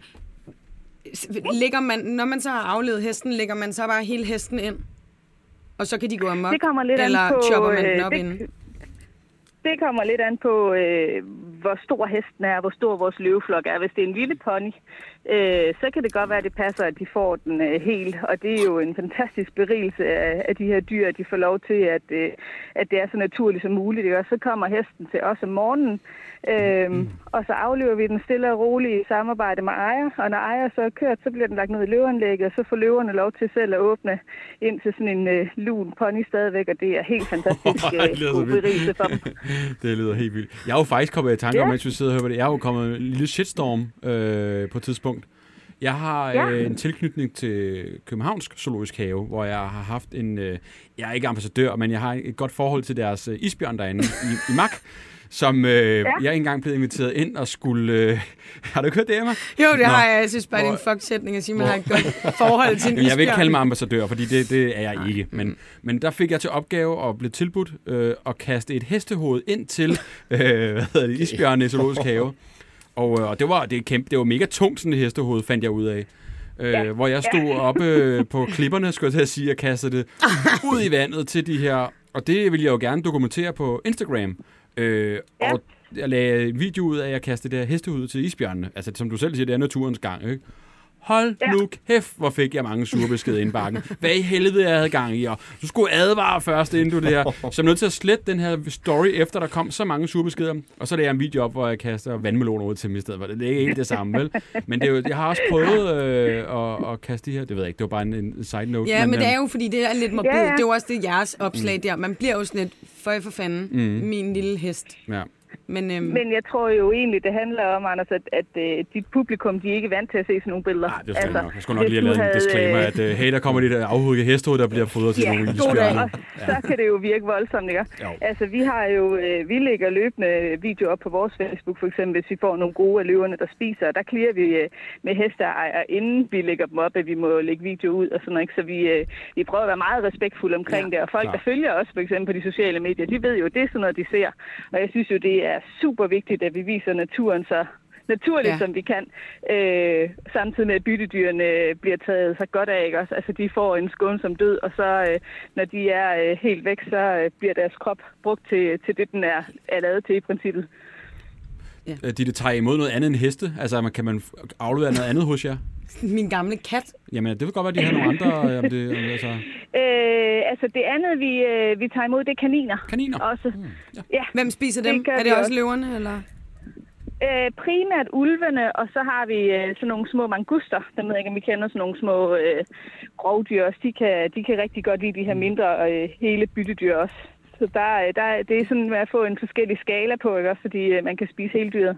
[SPEAKER 2] s- lægger man, når man så har aflevet hesten, lægger man så bare hele hesten ind? Og så kan de gå amok?
[SPEAKER 7] Det kommer lidt
[SPEAKER 2] Eller
[SPEAKER 7] an på...
[SPEAKER 2] chopper man den
[SPEAKER 7] øh,
[SPEAKER 2] op
[SPEAKER 7] det,
[SPEAKER 2] inden?
[SPEAKER 7] Det kommer lidt an på, øh, hvor stor hesten er, hvor stor vores løveflok er. Hvis det er en lille pony, øh, så kan det godt være, at det passer, at de får den øh, helt. Og det er jo en fantastisk berigelse af, af de her dyr, at de får lov til, at, øh, at det er så naturligt som muligt. Ikke? Og så kommer hesten til os om morgenen, øh,
[SPEAKER 1] Mm.
[SPEAKER 7] og så aflever vi den stille og roligt i samarbejde med ejer. Og når ejer så er kørt, så bliver den lagt ned i løveanlægget, og så får løverne lov til selv at åbne ind til sådan en øh, lun pony stadigvæk, og det er helt fantastisk
[SPEAKER 1] Ej, det lyder
[SPEAKER 7] øh,
[SPEAKER 1] så
[SPEAKER 7] god
[SPEAKER 1] vildt.
[SPEAKER 7] berigelse for dem.
[SPEAKER 1] Det lyder helt vildt. Jeg er jo faktisk kommet i tanke om,
[SPEAKER 7] Ja.
[SPEAKER 1] mens vi sidder og hører på det, jeg er jo kommet i en lille shitstorm øh, på et tidspunkt. Jeg har
[SPEAKER 6] Ja.
[SPEAKER 1] øh, en tilknytning til Københavnsk Zoologisk Have, hvor jeg har haft en... Øh, jeg er ikke ambassadør, men jeg har et godt forhold til deres øh, isbjørn derinde i, i Mak, som øh, ja. jeg engang blev inviteret ind og skulle... Øh, har du ikke hørt det, Emma?
[SPEAKER 2] Jo, det
[SPEAKER 1] Nå.
[SPEAKER 2] har jeg. Jeg synes bare, det er en
[SPEAKER 1] Hvor-
[SPEAKER 2] fuck-sætning at sige, man har et godt forhold til en
[SPEAKER 1] Jamen, jeg vil ikke
[SPEAKER 2] isbjørn. Mm.
[SPEAKER 1] kalde mig ambassadør, fordi det, det er jeg ikke. Men, men der fik jeg til opgave og blev tilbudt øh, at kaste et hestehoved ind til øh, hvad hedder det, Isbjørn i Zoologisk Have. Og, øh, og det var det er kæmpe, det var mega tungt, sådan et hestehoved, fandt jeg ud af. Øh, Hvor jeg stod oppe øh, på klipperne, skulle jeg til at sige, og kastede det ud i vandet til de her... Og det ville jeg jo gerne dokumentere på Instagram. Øh, ja. Og jeg lagde en video ud af, at jeg kastede det her hestehud til isbjørnene. Altså, som du selv siger, det er naturens gang, ikke? Hold ja. nu kæft, hvor fik jeg mange sure beskeder ind i bakken. Hvad i helvede jeg havde gang i, og du skulle advare først, inden du det her. Så jeg er nødt til at slette den her story, efter der kom så mange sure beskeder. Og så lagde jeg en video op, hvor jeg kaster vandmeloner ud til dem i stedet. for. Det er ikke helt det samme, vel? Men det er jo, jeg har også prøvet øh, at, at, kaste de her. Det ved jeg ikke, det var bare en, en side note.
[SPEAKER 2] Ja, men,
[SPEAKER 1] øh,
[SPEAKER 2] det er jo, fordi det er lidt morbid.
[SPEAKER 7] Ja,
[SPEAKER 2] Ja,
[SPEAKER 7] ja.
[SPEAKER 2] ja. Det er jo også det jeres opslag mm. der. Man bliver jo sådan lidt, for for fanden, mm. min lille hest.
[SPEAKER 1] Ja.
[SPEAKER 2] Men, øhm,
[SPEAKER 1] Mm.
[SPEAKER 2] men
[SPEAKER 7] Men jeg tror jo egentlig, det handler om, Anders, at, at, at dit publikum, de er ikke vant til at se sådan nogle billeder.
[SPEAKER 1] Nej, det er altså, nok. Jeg skulle nok
[SPEAKER 7] hvis
[SPEAKER 1] lige have
[SPEAKER 7] du
[SPEAKER 1] lavet en disclaimer,
[SPEAKER 7] havde, øh,
[SPEAKER 1] at øh, hey, der kommer de der afhuggede hestehud, der bliver fodret til
[SPEAKER 7] Ja,
[SPEAKER 1] nogle
[SPEAKER 7] god dag.
[SPEAKER 1] isbjørne.
[SPEAKER 7] Og så kan det jo virke voldsomt, ikke?
[SPEAKER 1] Jo.
[SPEAKER 7] Altså, vi har jo, øh, vi lægger løbende videoer op på vores Facebook, for eksempel, hvis vi får nogle gode af løverne, der spiser, og der clearer vi øh, med hesteejere, inden vi lægger dem op, at vi må lægge video ud og sådan noget, ikke? Så vi, øh, vi prøver at være meget respektfulde omkring ja, det, og folk,
[SPEAKER 1] klart.
[SPEAKER 7] der følger os, for eksempel på de sociale medier, de ved jo, det er sådan noget, de ser. Og jeg synes jo, det er super vigtigt, at vi viser naturen så naturligt,
[SPEAKER 2] Ja.
[SPEAKER 7] ja. som vi kan, øh, samtidig med, at byttedyrene øh, bliver taget så godt af, ikke også? Altså, de får en skånsom død, og så, øh, når de er øh, helt væk, så øh, bliver deres krop brugt til, til det, den er, er lavet til i princippet.
[SPEAKER 1] Øh, De, det tager I imod noget andet end heste? Altså, man- kan man f- aflevere noget andet hos jer?
[SPEAKER 2] min gamle kat,
[SPEAKER 1] Jamen, det vil godt være, at de har nogle andre... Øh, om det, om, altså,
[SPEAKER 7] Øh, altså, det andet, vi, øh, vi tager imod, det er kaniner.
[SPEAKER 1] kaniner.
[SPEAKER 7] Også. Ja,
[SPEAKER 2] hvem spiser dem?
[SPEAKER 7] Det gør
[SPEAKER 2] er
[SPEAKER 7] vi
[SPEAKER 2] det også
[SPEAKER 7] også.
[SPEAKER 2] løverne, eller?
[SPEAKER 7] øh, primært ulvene, og så har vi øh, sådan nogle små manguster. Dem ved jeg ikke, om vi kender sådan nogle små øh, grovdyr også. De kan, de kan rigtig godt lide de her
[SPEAKER 1] Mm.
[SPEAKER 7] mindre øh, hele byttedyr også. Så der, øh, der, det er sådan med at få en forskellig skala på, ikke? også, fordi øh, man kan spise hele dyret.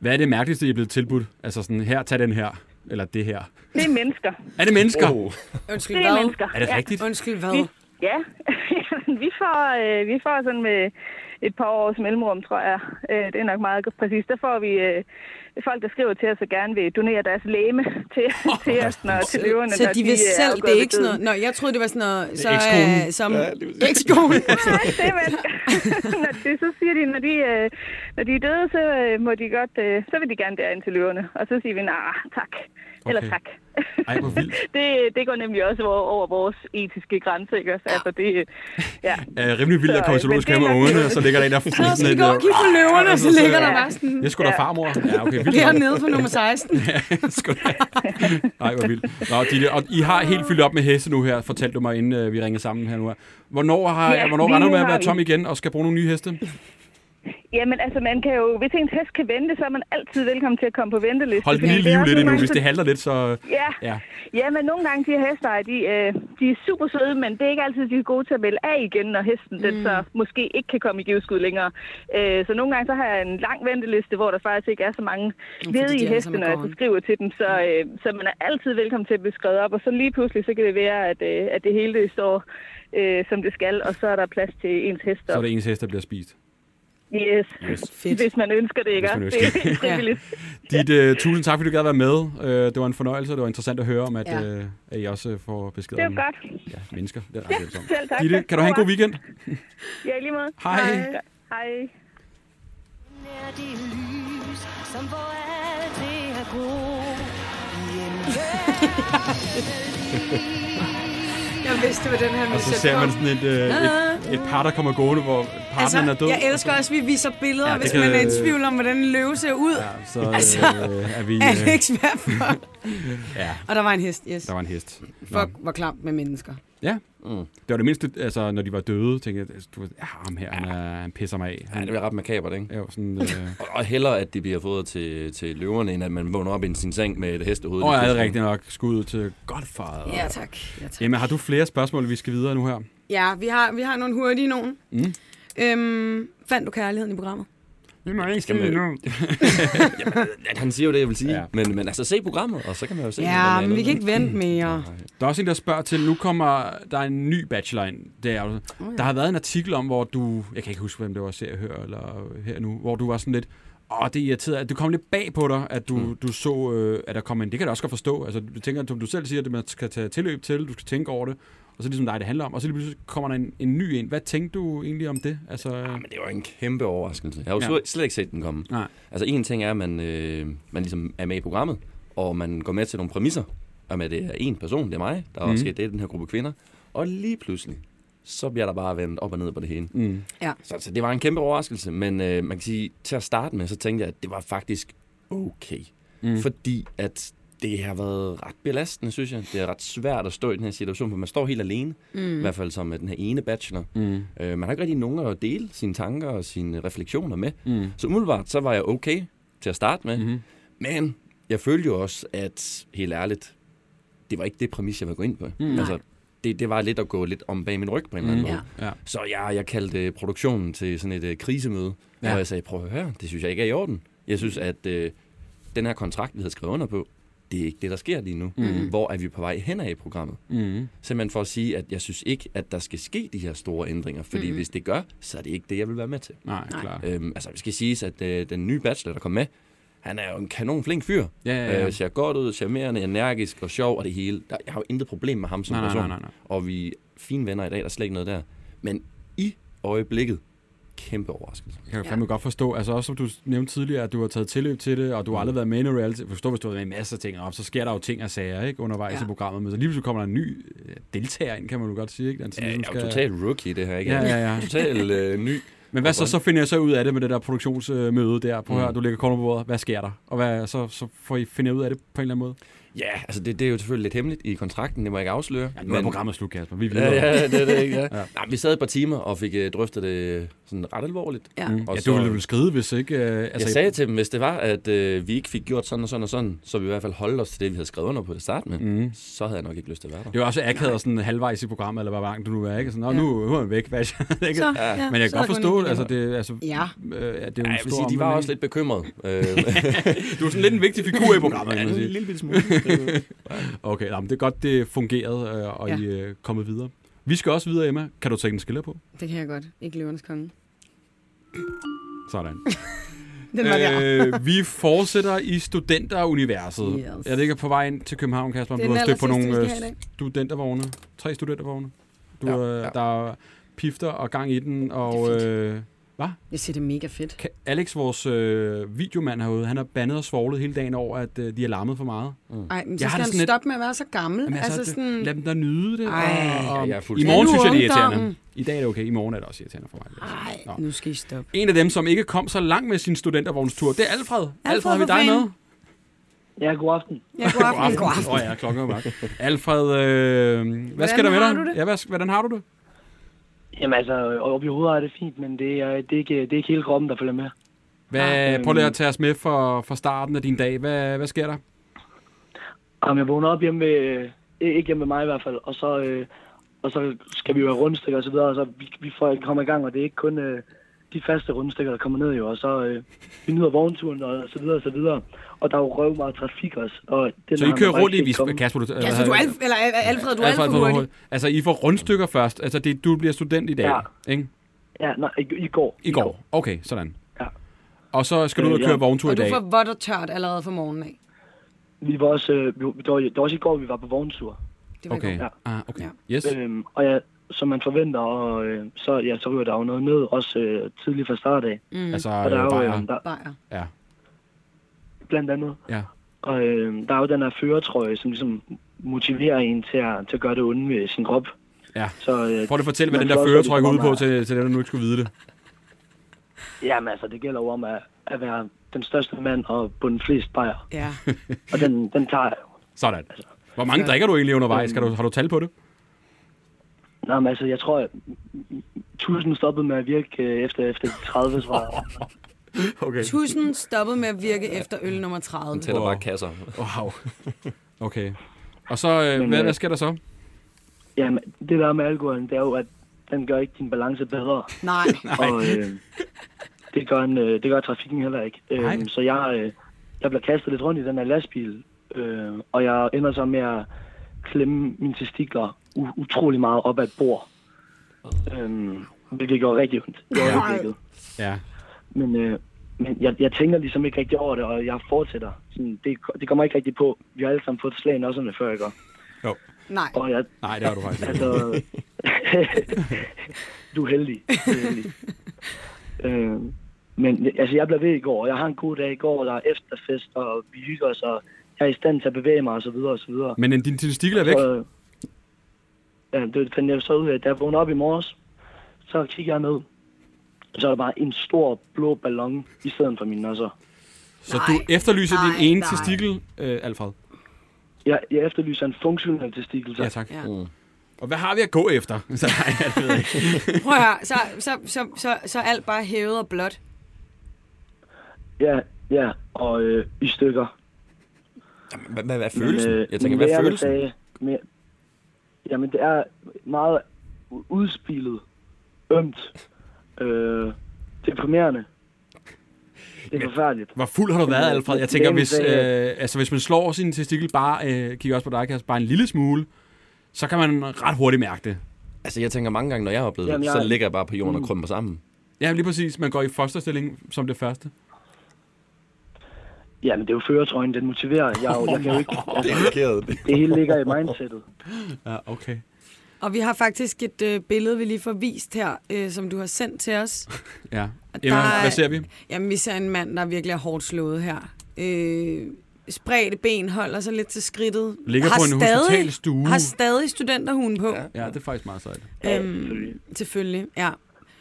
[SPEAKER 1] Hvad er det mærkeligste, I er blevet tilbudt? Altså sådan, her, tag den her. Eller det her.
[SPEAKER 7] Det er mennesker.
[SPEAKER 1] Er det mennesker?
[SPEAKER 3] Oh.
[SPEAKER 2] Undskyld,
[SPEAKER 7] Det er
[SPEAKER 2] hvad?
[SPEAKER 7] mennesker.
[SPEAKER 1] Er det rigtigt?
[SPEAKER 2] Undskyld, hvad?
[SPEAKER 7] Ja, vi får, øh, vi får sådan med et par års mellemrum, tror jeg. Øh, det er nok meget præcis. Der får vi øh, folk, der skriver til os og gerne vil donere deres læme til, til os, når, til løverne.
[SPEAKER 2] Så
[SPEAKER 7] når
[SPEAKER 2] de vil
[SPEAKER 7] øh,
[SPEAKER 2] selv,
[SPEAKER 7] afgår
[SPEAKER 2] det er
[SPEAKER 7] ved
[SPEAKER 2] ikke sådan noget...
[SPEAKER 7] døden.
[SPEAKER 2] Nå, jeg troede, det var sådan noget... Så,
[SPEAKER 1] ekskonen.
[SPEAKER 2] øh, som ekskonen.
[SPEAKER 7] Nej, det er vel. når de, så siger de, når de, øh, når de er døde, så øh, må de godt, øh, så vil de gerne derind til løverne. Og så siger vi, nej, tak. Eller
[SPEAKER 1] Okay.
[SPEAKER 7] tak.
[SPEAKER 1] Ej, hvor vildt.
[SPEAKER 7] det, det går nemlig også over, over vores etiske grænse, ikke? også? Altså, det, øh, ja.
[SPEAKER 1] Er rimelig vildt at komme i
[SPEAKER 7] Så, men
[SPEAKER 1] zoologisk
[SPEAKER 7] det er
[SPEAKER 1] have med
[SPEAKER 7] nok-
[SPEAKER 1] ungerne, og så ligger der en, der
[SPEAKER 2] Nå,
[SPEAKER 1] fryser
[SPEAKER 2] så de
[SPEAKER 1] lidt.
[SPEAKER 2] går og kigger på løverne, og så ligger der bare sådan...
[SPEAKER 1] Det er sgu da farmor. Ja, okay, vildt. nok.
[SPEAKER 2] Dernede på nummer 16.
[SPEAKER 1] Sgu da. Ej, hvor vildt. Nå, Ditte, og I har helt fyldt op med heste nu her, fortalte du mig, inden øh, vi ringede sammen her nu. her. Hvornår, har,
[SPEAKER 7] Ja,
[SPEAKER 1] ja, hvornår
[SPEAKER 7] lige
[SPEAKER 1] regner du
[SPEAKER 7] nu
[SPEAKER 1] med at
[SPEAKER 7] har
[SPEAKER 1] være
[SPEAKER 7] vi-
[SPEAKER 1] tom igen og skal bruge nogle nye heste?
[SPEAKER 7] Jamen, altså, man kan jo, hvis ens hest kan vente, så er man altid velkommen til at komme på venteliste.
[SPEAKER 1] Hold den
[SPEAKER 7] fordi
[SPEAKER 1] lige i live
[SPEAKER 7] det er også
[SPEAKER 1] lidt
[SPEAKER 7] nogle
[SPEAKER 1] endnu,
[SPEAKER 7] gange
[SPEAKER 1] hvis det
[SPEAKER 7] så-
[SPEAKER 1] handler lidt, så...
[SPEAKER 7] Ja. ja.
[SPEAKER 1] Ja,
[SPEAKER 7] ja, men nogle gange de her hestejer, de, øh, de er super søde, men det er ikke altid, de er gode til at melde af igen, når hesten mm. den så måske ikke kan komme i giveskud længere. Øh, så nogle gange så har jeg en lang venteliste, hvor der faktisk ikke er så mange
[SPEAKER 2] fordi de
[SPEAKER 7] ledige
[SPEAKER 2] er alle
[SPEAKER 7] heste,
[SPEAKER 2] sammen
[SPEAKER 7] når jeg så
[SPEAKER 2] gården.
[SPEAKER 7] skriver til dem. Så, øh, så man er altid velkommen til at blive skrevet op, og så lige pludselig, så kan det være, at, øh, at det hele det står, øh, som det skal, og så er der plads til ens hest.
[SPEAKER 1] så er det ens hest, der bliver spist.
[SPEAKER 7] Yes.
[SPEAKER 2] Fedt.
[SPEAKER 7] Hvis man ønsker det, ikke?
[SPEAKER 1] Hvis man
[SPEAKER 7] Det er helt frivilligt.
[SPEAKER 1] Dit, uh, tusind tak, fordi du gad være med. Uh, det var en fornøjelse, og det var interessant at høre om, at,
[SPEAKER 2] Ja.
[SPEAKER 1] uh, at I også øh, får besked
[SPEAKER 7] Det er
[SPEAKER 1] om
[SPEAKER 7] jo godt.
[SPEAKER 1] ja, mennesker. Det er ret hjælpsomt.
[SPEAKER 7] selv tak.
[SPEAKER 1] Ditte, kan du have en god weekend?
[SPEAKER 7] Ja, i lige måde.
[SPEAKER 1] Hej.
[SPEAKER 7] Hej.
[SPEAKER 8] er det lys, som hvor alt det er godt. I en
[SPEAKER 2] Jeg vidste, det var den her, vi
[SPEAKER 1] Og så ser man sådan et, uh, et, et par, der kommer gående, hvor partneren er
[SPEAKER 2] Altså,
[SPEAKER 1] død.
[SPEAKER 2] jeg elsker også, at vi viser billeder,
[SPEAKER 1] Ja,
[SPEAKER 2] ja,
[SPEAKER 1] det
[SPEAKER 2] hvis
[SPEAKER 1] kan-
[SPEAKER 2] man er i tvivl om, hvordan en løve ser ud.
[SPEAKER 1] Ja, så
[SPEAKER 2] Altså,
[SPEAKER 1] uh, er vi...
[SPEAKER 2] Er det
[SPEAKER 1] Uh,
[SPEAKER 2] ikke svært for?
[SPEAKER 1] ja,
[SPEAKER 2] Og der var en hest, yes.
[SPEAKER 1] der var en hest. Nå.
[SPEAKER 2] Fuck, hvor klamt med mennesker.
[SPEAKER 1] Ja. Mm. Det var det mindste, altså, når de var døde, tænkte jeg, altså, du ved, ja, ham her, han, er, han pisser mig af.
[SPEAKER 3] Ja,
[SPEAKER 1] Han
[SPEAKER 3] det bliver ret makabert, ikke?
[SPEAKER 1] er jo sådan... Øh,
[SPEAKER 3] Og, og hellere, at det bliver fodret til, til løverne, end at man vågner op i sin seng med et hestehoved.
[SPEAKER 1] og jeg er rigtig nok skudt ud til Godfather.
[SPEAKER 2] Ja, tak. Ja, tak.
[SPEAKER 1] Emma, har du flere spørgsmål, vi skal videre nu her?
[SPEAKER 2] Ja, vi har, vi har nogle hurtige nogen. Mm. Øhm, fandt du kærligheden i programmet?
[SPEAKER 1] Vi må ikke
[SPEAKER 3] Jamen, sige øh, At han siger jo det, jeg vil sige.
[SPEAKER 1] Ja.
[SPEAKER 3] Ja. Men, men altså, se programmet, og så kan man jo se.
[SPEAKER 2] Ja,
[SPEAKER 3] hvordan
[SPEAKER 2] men vi
[SPEAKER 3] det
[SPEAKER 2] kan
[SPEAKER 3] er.
[SPEAKER 2] ikke vente mere.
[SPEAKER 1] Der er også en, der spørger til, nu kommer der er en ny bachelor ind. Det er, jo- Der har været en artikel om, hvor du, jeg kan ikke huske, hvem det var, ser hør eller her nu, hvor du var sådan lidt, åh, det irriterede, at det kom lidt bag på dig, at du, mm. du så, øh, at der kom en, det kan jeg da også godt forstå. Altså, du tænker, som du selv siger, det man skal tage tilløb til, du skal tænke over det, og så ligesom dig, det handler om, og så lige pludselig kommer der en, en ny en. Hvad tænkte du egentlig om det? Altså, øh,
[SPEAKER 3] Men det var en kæmpe overraskelse. Jeg har jo
[SPEAKER 1] Ja.
[SPEAKER 3] slet- slet ikke set den komme.
[SPEAKER 1] nej.
[SPEAKER 3] Altså en ting er, at man, øh, man ligesom er med i programmet, og man går med til nogle præmisser. Og med det er en person, det er mig, der
[SPEAKER 1] Mhm.
[SPEAKER 3] mm. også skal date den her gruppe kvinder. Og lige pludselig, så bliver der bare vendt op og ned på det hele.
[SPEAKER 1] Mm.
[SPEAKER 2] Ja.
[SPEAKER 3] Så, så det var en kæmpe overraskelse, men øh, man kan sige, til at starte med, så tænkte jeg, at det var faktisk okay. Mm. Fordi at det har været ret belastende, synes jeg. Det er ret svært at stå i den her situation, for man står helt alene. Mm. I hvert fald som øh, den her ene bachelor.
[SPEAKER 1] Mm.
[SPEAKER 3] Øh, man har ikke rigtig nogen at dele sine tanker og sine refleksioner med. Mm. Så umiddelbart, så var jeg okay til at starte med. Mm. Men jeg følte jo også, at helt ærligt, det var ikke det præmis, jeg var gå ind på. Mm. Altså, det, det var lidt at gå lidt om bag min ryg på en eller anden måde.
[SPEAKER 1] Ja.
[SPEAKER 3] Så jeg, jeg kaldte produktionen til sådan et øh, krisemøde,
[SPEAKER 1] Ja.
[SPEAKER 3] ja. hvor jeg sagde, prøv at høre, det synes jeg ikke er i orden. Jeg synes, at øh, den her kontrakt, vi havde skrevet under på, det er ikke det, der sker lige nu. Mm. Hvor er vi på vej henad i programmet?
[SPEAKER 1] Mm.
[SPEAKER 3] Simpelthen for at sige, at jeg synes ikke, at der skal ske de her store ændringer, fordi mm. hvis det gør, så er det ikke det, jeg vil være med til.
[SPEAKER 1] Nej, klar.
[SPEAKER 3] Øhm, altså, vi skal sige, at øh, den nye bachelor, der kom med, han er jo en kanon flink fyr.
[SPEAKER 1] Ja, ja, ja.
[SPEAKER 3] Øh, ser godt ud, charmerende, energisk og sjov og det hele. Der, jeg har jo intet problem med ham som
[SPEAKER 1] Nej, nej,
[SPEAKER 3] person.
[SPEAKER 1] nej, nej, nej.
[SPEAKER 3] Og vi er fine venner i dag, der er slet ikke noget der. Men i øjeblikket, kæmpe overraskelse.
[SPEAKER 1] Jeg kan fandme godt forstå, altså også som du nævnte tidligere, at du har taget tilløb til det, og du har aldrig været med i noget reality. Jeg forstår, hvis du har været med i masser af ting, og så sker der jo ting og sager ikke, undervejs
[SPEAKER 2] Ja.
[SPEAKER 1] ja. i programmet, men så lige pludselig kommer der en ny øh, deltager ind, kan man jo godt sige. Ikke? Den, så
[SPEAKER 3] Jeg
[SPEAKER 1] ligesom
[SPEAKER 3] er jo total rookie i det her, ikke?
[SPEAKER 1] Ja, ja, ja.
[SPEAKER 3] Total øh, ny.
[SPEAKER 1] Men hvad så,
[SPEAKER 3] Hvordan?
[SPEAKER 1] så finder jeg så ud af det med det der produktionsmøde der? Prøv at høre, du lægger kornet på bordet. Hvad sker der? Og hvad, så, så får I finde ud af det på en eller anden måde?
[SPEAKER 3] Ja, altså det, det er jo selvfølgelig lidt hemmeligt i kontrakten, det må jeg ikke afsløre.
[SPEAKER 1] Ja, nu er programmet slut, Kasper. Vi er videre.
[SPEAKER 3] Ja, ja, det er det ikke, ja. ja. Nej, vi sad et par timer og fik øh, drøftet det sådan ret alvorligt.
[SPEAKER 2] Ja.
[SPEAKER 1] Mm.
[SPEAKER 3] Og
[SPEAKER 1] ja,
[SPEAKER 3] så-
[SPEAKER 1] du ville vel skride, hvis ikke... Øh, altså,
[SPEAKER 3] jeg sagde til dem, hvis det var, at øh, vi ikke fik gjort sådan og sådan og sådan, så vi i hvert fald holdt os til det, vi havde skrevet under på at starte med, mm. så havde jeg nok ikke lyst til at være der.
[SPEAKER 1] Mhm. Det var også akavet og sådan halvvejs i programmet, eller hvor langt du nu er, ikke? Sådan, Nå, nu, nu er han væk. Hvad? ikke?
[SPEAKER 2] Så, ja,
[SPEAKER 1] Men jeg
[SPEAKER 2] så
[SPEAKER 1] kan godt
[SPEAKER 2] er der kun
[SPEAKER 1] forstå,
[SPEAKER 2] en-
[SPEAKER 1] altså det, altså,
[SPEAKER 2] Ja.
[SPEAKER 1] øh, det er jo en
[SPEAKER 3] Ja, jeg vil sige, de var
[SPEAKER 1] omvæltning.
[SPEAKER 3] også lidt bekymrede. Øh,
[SPEAKER 1] Du er sådan lidt en vigtig figur i programmet, kan man sige.
[SPEAKER 3] lille smule.
[SPEAKER 1] Okay, nå, men det er godt, det fungerede, øh, og
[SPEAKER 2] Ja.
[SPEAKER 1] I øh, er kommet videre. Vi skal også videre, Emma. Kan du tage en skiller på?
[SPEAKER 2] Det kan jeg godt. Ikke løvernes konge.
[SPEAKER 1] Sådan.
[SPEAKER 2] Den var der.
[SPEAKER 1] øh, vi fortsætter i studenteruniverset.
[SPEAKER 2] Yes.
[SPEAKER 1] Jeg ligger på vej ind til København, Kasper. om
[SPEAKER 2] Det er
[SPEAKER 1] Du har
[SPEAKER 2] den
[SPEAKER 1] stødt på
[SPEAKER 2] allersidste,
[SPEAKER 1] nogle
[SPEAKER 2] vi
[SPEAKER 1] øh,
[SPEAKER 2] skal have i
[SPEAKER 1] studentervogne. Tre studentervogne. Du,
[SPEAKER 3] Ja,
[SPEAKER 1] øh,
[SPEAKER 3] ja.
[SPEAKER 1] Der er pifter og gang i den,
[SPEAKER 2] Det
[SPEAKER 1] og...
[SPEAKER 2] er fint.
[SPEAKER 1] Øh,
[SPEAKER 2] Jeg siger, det er mega fedt.
[SPEAKER 1] Ka- Alex, vores øh, videomand herude, han har bandet og svoglet hele dagen over, at øh, de har larmet for meget.
[SPEAKER 2] Ej, men så
[SPEAKER 1] Jeg har det
[SPEAKER 2] skal han
[SPEAKER 1] sådan lidt-
[SPEAKER 2] stoppe med at være så gammel.
[SPEAKER 1] Jamen, altså, altså,
[SPEAKER 2] sådan...
[SPEAKER 1] sådan... Lad dem da nyde det.
[SPEAKER 2] Ej.
[SPEAKER 1] og, og,
[SPEAKER 3] Ja, jeg er
[SPEAKER 1] I
[SPEAKER 3] fuldstændig-
[SPEAKER 1] morgen
[SPEAKER 2] Ja, nu
[SPEAKER 1] synes jeg, det er irriterende.
[SPEAKER 2] ungdommen.
[SPEAKER 1] I dag er det okay. I morgen er det også irriterende for mig.
[SPEAKER 2] Ej,
[SPEAKER 1] Nå.
[SPEAKER 2] nu skal I stoppe.
[SPEAKER 1] En af dem, som ikke kom så langt med sin studentervognstur, det er Alfred. Alfred, Alfred har vi
[SPEAKER 2] for
[SPEAKER 1] dig
[SPEAKER 2] fanden.
[SPEAKER 1] med?
[SPEAKER 4] Ja, god aften.
[SPEAKER 2] Ja, god aften. God aften.
[SPEAKER 1] Åh oh, ja, klokken er mørk. Alfred, øh, hvad skal der med
[SPEAKER 2] har
[SPEAKER 1] dig?
[SPEAKER 2] du det?
[SPEAKER 1] Ja, hvad, hvordan har du det?
[SPEAKER 4] Jamen altså, op i hovedet er det fint, men det er, det er, ikke, det er ikke hele kroppen, der følger med.
[SPEAKER 1] Hvad, prøv lige at tage os med fra for starten af din dag. Hvad, hvad sker der?
[SPEAKER 4] Jamen, jeg vågner op hjemme ved, øh, ikke hjemme ved mig i hvert fald, og så, øh, og så skal vi jo have rundstykker og så videre, og så vi, vi får komme i gang, og det er ikke kun øh, de faste rundstykker, der kommer ned jo, og så øh, vi nyder vognturen og så videre og så videre, og der er jo røv meget trafik også. Og det,
[SPEAKER 1] Så I kører rundt i... Vi, Kasper, du,
[SPEAKER 2] Ja, så Altså, du er Alf, eller Al- Alfred, du er
[SPEAKER 1] Alfred,
[SPEAKER 2] Alfred,
[SPEAKER 1] Alfred,
[SPEAKER 2] hurtig.
[SPEAKER 1] Alfred, altså, I får rundstykker først. Altså, det, du bliver student i dag,
[SPEAKER 4] Ja.
[SPEAKER 1] ikke?
[SPEAKER 4] Ja, nej, i, i går.
[SPEAKER 1] I går. Okay, sådan.
[SPEAKER 4] Ja.
[SPEAKER 1] Og så skal du ud og
[SPEAKER 4] Øh, ja.
[SPEAKER 1] køre vogntur i
[SPEAKER 2] Og du
[SPEAKER 1] dag.
[SPEAKER 2] får vådt og tørt allerede fra morgenen af.
[SPEAKER 4] Vi var også, øh, vi, det, var, det var også i går, vi var på vogntur.
[SPEAKER 2] Det var i
[SPEAKER 1] Okay.
[SPEAKER 2] går.
[SPEAKER 4] Ja.
[SPEAKER 1] Ah, okay. Yes.
[SPEAKER 4] Øhm, og ja, som man forventer, og øh, så, ja, så ryger der jo noget ned, også øh, tidligt fra start af.
[SPEAKER 1] Altså,
[SPEAKER 4] Og der er jo,
[SPEAKER 1] bare,
[SPEAKER 4] øh, der,
[SPEAKER 2] Bajer.
[SPEAKER 1] ja.
[SPEAKER 4] blandt andet,
[SPEAKER 1] Ja.
[SPEAKER 4] Og øh, der er jo den her føretrøje, som ligesom motiverer en til at, til at gøre det onde ved sin krop.
[SPEAKER 1] Ja.
[SPEAKER 4] Så, øh,
[SPEAKER 1] Prøv lige at fortælle, hvad den
[SPEAKER 4] man
[SPEAKER 1] der
[SPEAKER 4] får også
[SPEAKER 1] føretrøje går ud på
[SPEAKER 4] lidt
[SPEAKER 1] til, til dem, der nu ikke skulle vide det.
[SPEAKER 4] Jamen altså, det gælder jo om at, at være den største mand og bunde flest bajer.
[SPEAKER 2] Ja.
[SPEAKER 4] Og den, den tager jeg jo.
[SPEAKER 1] Sådan.
[SPEAKER 4] Altså,
[SPEAKER 1] Hvor mange drikker du egentlig undervejs? Kan du, har du tal på det?
[SPEAKER 4] Nå, men altså, jeg tror, at tusind stoppede med at virke øh, efter, efter de 30, tror jeg.
[SPEAKER 1] Okay.
[SPEAKER 2] Tusind stoppede med at virke efter øl nummer 30.
[SPEAKER 3] Tæller bare kasser.
[SPEAKER 1] Wow. Okay. Og så, øh,
[SPEAKER 4] Men,
[SPEAKER 1] hvad,
[SPEAKER 4] øh,
[SPEAKER 1] hvad sker der så?
[SPEAKER 4] Jamen, det der med alkoholen, det er jo, at den gør ikke din balance bedre.
[SPEAKER 2] Nej.
[SPEAKER 4] Og, øh,
[SPEAKER 9] Det gør, en, øh, det gør trafikken heller ikke.
[SPEAKER 1] Nej.
[SPEAKER 9] Øhm, så jeg, øh, jeg bliver kastet lidt rundt i den her lastbil, øh, og jeg ender så med at klemme mine testikler u- utrolig meget op ad et bord. Øhm, hvilket gjorde rigtig ondt. Det gjorde rigtig ondt.
[SPEAKER 1] Ja.
[SPEAKER 9] Men, øh, men jeg, jeg tænker ligesom ikke rigtig over det, og jeg fortsætter. Sådan, det, det kommer ikke rigtig på. Vi har alle sammen fået et slag i nosserne før, ikke?
[SPEAKER 1] Jo.
[SPEAKER 2] Nej.
[SPEAKER 9] Og jeg,
[SPEAKER 1] Nej, det har du faktisk ikke.
[SPEAKER 9] Altså, du er heldig. Du er heldig. øh, men altså, jeg blev ved i går, og jeg har en god dag i går, der er efterfest, og vi hygger os, og jeg er i stand til at bevæge mig, og så videre, og så videre.
[SPEAKER 1] Men øh, dine testikler er væk.
[SPEAKER 9] Så, øh, ja, det fandt jeg så ud af, da jeg vågnede op i morges, så kigger jeg ned, så er der bare en stor blå ballon i stedet for min altså. nosser.
[SPEAKER 1] Så du efterlyser
[SPEAKER 2] nej,
[SPEAKER 1] din ene
[SPEAKER 2] nej.
[SPEAKER 1] testikel, øh, Alfred.
[SPEAKER 9] Jeg, jeg efterlyser en funktionel testikel. så-
[SPEAKER 1] Ja, tak.
[SPEAKER 2] Ja.
[SPEAKER 1] Og hvad har vi at gå efter? Så, nej, jeg ved ikke.
[SPEAKER 2] Prøv at høre, så, så, så, så, så er alt bare hævet og blåt.
[SPEAKER 9] ja, ja og øh, i stykker.
[SPEAKER 3] Hvad, hvad, hvad er
[SPEAKER 9] Men,
[SPEAKER 3] følelsen?
[SPEAKER 9] øh,
[SPEAKER 3] Jeg tænker,
[SPEAKER 9] men
[SPEAKER 3] hvad er
[SPEAKER 9] lægerne
[SPEAKER 3] følelsen?
[SPEAKER 9] Sagde, men, jamen, det er meget u- udspilet, ømt, øh, deprimerende. Det er forfærdeligt.
[SPEAKER 1] Hvor fuld har du været, Alfred? Jeg tænker,
[SPEAKER 9] Lægen
[SPEAKER 1] hvis,
[SPEAKER 9] sagde-
[SPEAKER 1] øh, altså, hvis man slår sin testikel bare, øh, kigger også på dig, Kasper, bare en lille smule, så kan man ret hurtigt mærke det.
[SPEAKER 3] Altså, jeg tænker mange gange, når jeg har oplevet
[SPEAKER 9] Jamen,
[SPEAKER 3] det,
[SPEAKER 9] jeg- Mm.
[SPEAKER 3] så ligger jeg bare på jorden og krymper sammen.
[SPEAKER 1] Ja, lige præcis. Man går i fosterstilling som det første.
[SPEAKER 9] Jamen, det er jo føretrøjen, den motiverer. Jeg, er jo- jeg kan jo ikke, altså,
[SPEAKER 3] markeret.
[SPEAKER 9] det hele ligger i mindsetet.
[SPEAKER 1] Ja, okay.
[SPEAKER 2] Og vi har faktisk et øh, billede, vi lige får vist her, øh, som du har sendt til os.
[SPEAKER 1] Ja.
[SPEAKER 2] Og
[SPEAKER 1] Emma,
[SPEAKER 2] der er-
[SPEAKER 1] hvad ser vi?
[SPEAKER 2] Jamen, vi ser en mand, der virkelig er hårdt slået her. Øh, spredte ben, holder sig lidt til skridtet.
[SPEAKER 1] Ligger på en hospitalsstue.
[SPEAKER 2] Har stadig studenterhuen på. Ja.
[SPEAKER 1] Ja, det er faktisk meget sejt.
[SPEAKER 2] Øhm, selvfølgelig, ja.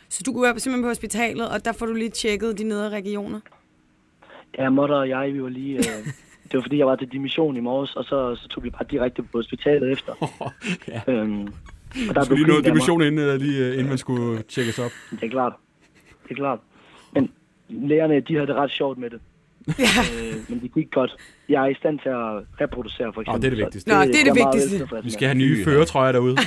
[SPEAKER 2] Så du er simpelthen på hospitalet, og der får du lige tjekket de nedre regioner.
[SPEAKER 9] Ja, Motter og jeg, vi var lige... Øh, det var fordi, jeg var til dimission i morges, og så, så tog vi bare direkte på hospitalet efter.
[SPEAKER 1] ja.
[SPEAKER 9] Øhm, og der
[SPEAKER 1] Der skulle lige
[SPEAKER 9] grint
[SPEAKER 1] nå
[SPEAKER 9] af mig.
[SPEAKER 1] dimensionen, inden, øh, lige, øh, inden man skulle tjekkes op.
[SPEAKER 9] Det er klart. Det er klart. Men lærerne, de havde det ret sjovt med det. øh, men det gik godt. Jeg er i stand til at reproducere, for eksempel.
[SPEAKER 1] det er det
[SPEAKER 9] så
[SPEAKER 1] vigtigste.
[SPEAKER 2] Nå, det er det
[SPEAKER 9] jeg meget
[SPEAKER 2] vigtigste.
[SPEAKER 9] veltilfreds
[SPEAKER 1] Vi
[SPEAKER 9] med.
[SPEAKER 1] skal have nye føretrøjer derude.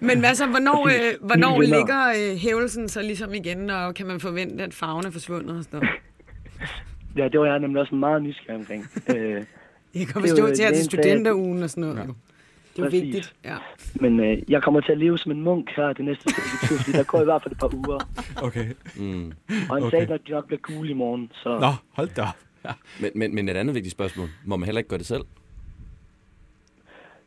[SPEAKER 2] Men hvad så, hvornår, øh, hvornår
[SPEAKER 9] Lige vinder.
[SPEAKER 2] ligger øh, hævelsen så ligesom igen, og kan man forvente, at farven er forsvundet og sådan noget?
[SPEAKER 9] Ja, det var jeg nemlig også meget nysgerrig omkring. Øh,
[SPEAKER 2] Jeg kan
[SPEAKER 9] Det er jo
[SPEAKER 2] forstå til her til
[SPEAKER 9] lægen sagde, at-
[SPEAKER 2] studenterugen og sådan noget. Ja. Det er jo
[SPEAKER 9] Præcis.
[SPEAKER 2] vigtigt. Ja.
[SPEAKER 9] men øh, jeg kommer til at leve som en munk her det næste stykke tid, fordi der går i hvert fald et par uger.
[SPEAKER 1] Okay.
[SPEAKER 9] Og han
[SPEAKER 1] Okay.
[SPEAKER 9] okay. sagde, at de nok bliver gule i morgen. Så
[SPEAKER 1] Nå, hold da op. Ja.
[SPEAKER 3] Men, men, men et andet vigtigt spørgsmål. Må man heller ikke gøre det selv?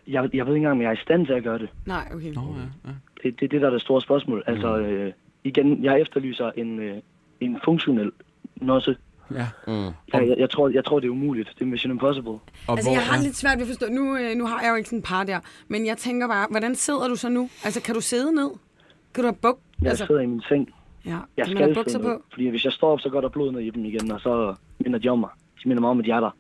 [SPEAKER 9] jeg, jeg ved ikke engang, om jeg er i stand til at gøre det.
[SPEAKER 2] Nej, okay.
[SPEAKER 1] Nå, ja, ja.
[SPEAKER 9] Det, det er det, der er det store spørgsmål.
[SPEAKER 1] Mm.
[SPEAKER 9] Altså, øh, igen, jeg efterlyser en, øh, en funktionel nosse.
[SPEAKER 1] ja.
[SPEAKER 9] Jeg, jeg, jeg, tror, jeg tror, det er umuligt. Det er Mission Impossible.
[SPEAKER 1] Og
[SPEAKER 2] Altså, jeg har
[SPEAKER 1] ja.
[SPEAKER 2] lidt svært ved at forstå. Nu, øh, nu har jeg jo ikke sådan en par der, men jeg tænker bare, hvordan sidder du så nu? Altså, kan du sidde ned? Kan du have buk?
[SPEAKER 9] Jeg
[SPEAKER 2] altså,
[SPEAKER 9] sidder i min seng.
[SPEAKER 2] ja,
[SPEAKER 9] Jeg
[SPEAKER 2] kan man have
[SPEAKER 9] skal
[SPEAKER 2] bukser
[SPEAKER 9] sidde ned,
[SPEAKER 2] på?
[SPEAKER 9] fordi hvis jeg står op, så går der blod ned i dem igen, og så minder de om mig. De minder mig om, at jeg er der.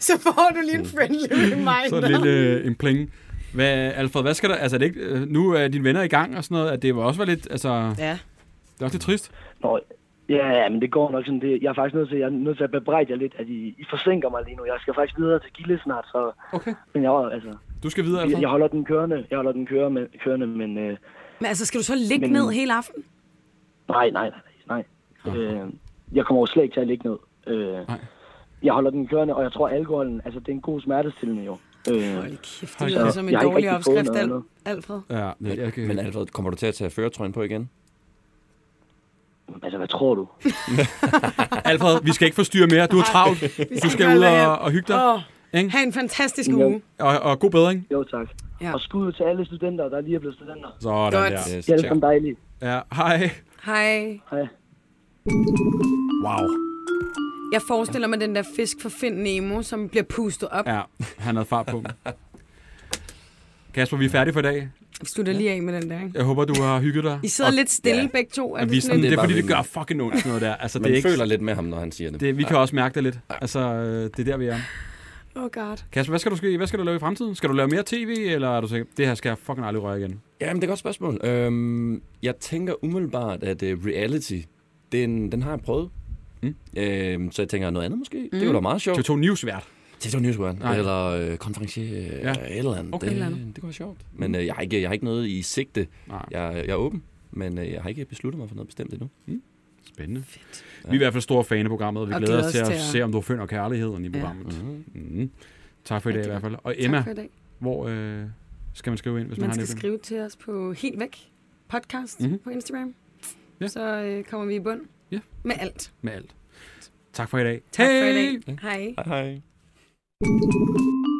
[SPEAKER 2] Så får du lige en friendly reminder.
[SPEAKER 1] Mm. Så lidt øh, en pling. Hvad, Alfred, hvad skal der... Altså, er det ikke, øh, nu er dine venner i gang og sådan noget, at det var også var lidt... Altså,
[SPEAKER 2] Ja.
[SPEAKER 1] det er også lidt trist.
[SPEAKER 9] Nå, ja, ja, men det går nok sådan. Det, jeg er faktisk nødt til, jeg er nødt til at bebrejde jer lidt, at I, I forsinker mig lige nu. Jeg skal faktisk videre til Gilde snart, så...
[SPEAKER 1] Okay.
[SPEAKER 9] Men jeg, var- altså,
[SPEAKER 1] Du skal videre,
[SPEAKER 9] jeg,
[SPEAKER 1] Alfred.
[SPEAKER 9] jeg holder den kørende, jeg holder den kørende, men, kørende, men øh,
[SPEAKER 2] Men altså, skal du så ligge
[SPEAKER 9] Men-
[SPEAKER 2] ned hele aften?
[SPEAKER 9] nej, nej, nej, nej. Øh, jeg kommer jo slet ikke til at ligge ned. Øh,
[SPEAKER 1] Nej.
[SPEAKER 9] jeg holder den kørende, og jeg tror, alkoholen, altså, det er en god smertestillende jo. Øh,
[SPEAKER 2] Hold kæft, det
[SPEAKER 1] Hold
[SPEAKER 2] lyder
[SPEAKER 1] op.
[SPEAKER 2] som en
[SPEAKER 9] Jeg har ikke
[SPEAKER 2] dårlig
[SPEAKER 9] rigtig fået
[SPEAKER 2] opskrift,
[SPEAKER 9] noget
[SPEAKER 2] Al-
[SPEAKER 9] andet.
[SPEAKER 2] Alfred.
[SPEAKER 1] Ja, men, jeg kan,
[SPEAKER 3] Men Alfred, kommer du til at tage føretrøjen på igen?
[SPEAKER 9] altså, hvad tror du?
[SPEAKER 1] Alfred, vi skal ikke forstyrre mere. Du er travlt. Du skal ud og, og hygge dig.
[SPEAKER 2] Åh,
[SPEAKER 1] Ikke?
[SPEAKER 2] have en fantastisk
[SPEAKER 9] Jo.
[SPEAKER 2] uge.
[SPEAKER 1] Og, og god bedring.
[SPEAKER 9] Jo, tak.
[SPEAKER 2] Ja.
[SPEAKER 9] Og skud til alle studenter, der lige er blevet studenter.
[SPEAKER 1] Sådan
[SPEAKER 2] Godt.
[SPEAKER 1] der.
[SPEAKER 9] Det er alle sammen dejligt.
[SPEAKER 1] Ja, hej.
[SPEAKER 2] Hej.
[SPEAKER 9] Hej.
[SPEAKER 1] Wow.
[SPEAKER 2] Jeg forestiller mig den der fisk fra Find Nemo, som bliver pustet op.
[SPEAKER 1] Ja, han havde fart på. Kasper, vi er færdige for i dag.
[SPEAKER 2] Vi slutter lige af med den der, ikke?
[SPEAKER 1] Jeg håber, du har hygget dig.
[SPEAKER 2] I sidder lidt stille ja. begge to. Er
[SPEAKER 1] Men
[SPEAKER 2] det
[SPEAKER 1] vi, er
[SPEAKER 2] sådan
[SPEAKER 1] sådan, det
[SPEAKER 2] lidt...
[SPEAKER 1] er
[SPEAKER 3] bare
[SPEAKER 1] fordi, det
[SPEAKER 3] vildt.
[SPEAKER 1] gør fucking ondt, sådan noget der. Altså, det
[SPEAKER 3] Man
[SPEAKER 1] er ikke,
[SPEAKER 3] føler lidt med ham, når han siger det.
[SPEAKER 1] det, vi kan også mærke det lidt. Altså, øh, det er der, vi er.
[SPEAKER 2] Oh god.
[SPEAKER 1] Kasper, hvad skal du, ske- hvad skal du lave i fremtiden? Skal du lave mere tv, eller er du sikker? Det her skal jeg fucking aldrig røre igen.
[SPEAKER 3] Ja, men det er et godt spørgsmål. Øhm, jeg tænker umiddelbart, at uh, reality, den, den har jeg prøvet. Mm. Øhm, så jeg tænker, noget andet måske? Mm. Det er jo da meget sjovt.
[SPEAKER 1] TV2 News vært.
[SPEAKER 3] TV2 Newsworld,
[SPEAKER 1] Nej.
[SPEAKER 3] eller øh, konferencier, øh,
[SPEAKER 1] Ja.
[SPEAKER 3] ja. eller andet.
[SPEAKER 1] Okay.
[SPEAKER 3] Det, det kunne være sjovt. Men øh, jeg, har ikke, jeg har ikke noget i sigte.
[SPEAKER 1] Nej.
[SPEAKER 3] Jeg, jeg er åben. Men øh, jeg har ikke besluttet mig for noget bestemt endnu.
[SPEAKER 1] Spændende. Fedt. Vi er i hvert fald store fan af programmet, og vi og glæder os til at, se, om du finder kærligheden i programmet. Ja. Mm. Tak for i dag i hvert fald. Og Emma,
[SPEAKER 2] Tak for i dag.
[SPEAKER 1] hvor øh, skal man skrive ind, hvis man,
[SPEAKER 2] Man
[SPEAKER 1] har
[SPEAKER 2] skal
[SPEAKER 1] en idé?
[SPEAKER 2] skrive til os på Helt Væk podcast mm-hmm. på Instagram.
[SPEAKER 1] Ja.
[SPEAKER 2] Ja. Så øh, kommer vi i bund
[SPEAKER 1] Ja.
[SPEAKER 2] med alt.
[SPEAKER 1] Med alt. Tak for i dag.
[SPEAKER 2] Tak for i
[SPEAKER 1] Hej!
[SPEAKER 2] dag. Hej.
[SPEAKER 3] Hej hej.
[SPEAKER 8] Hej.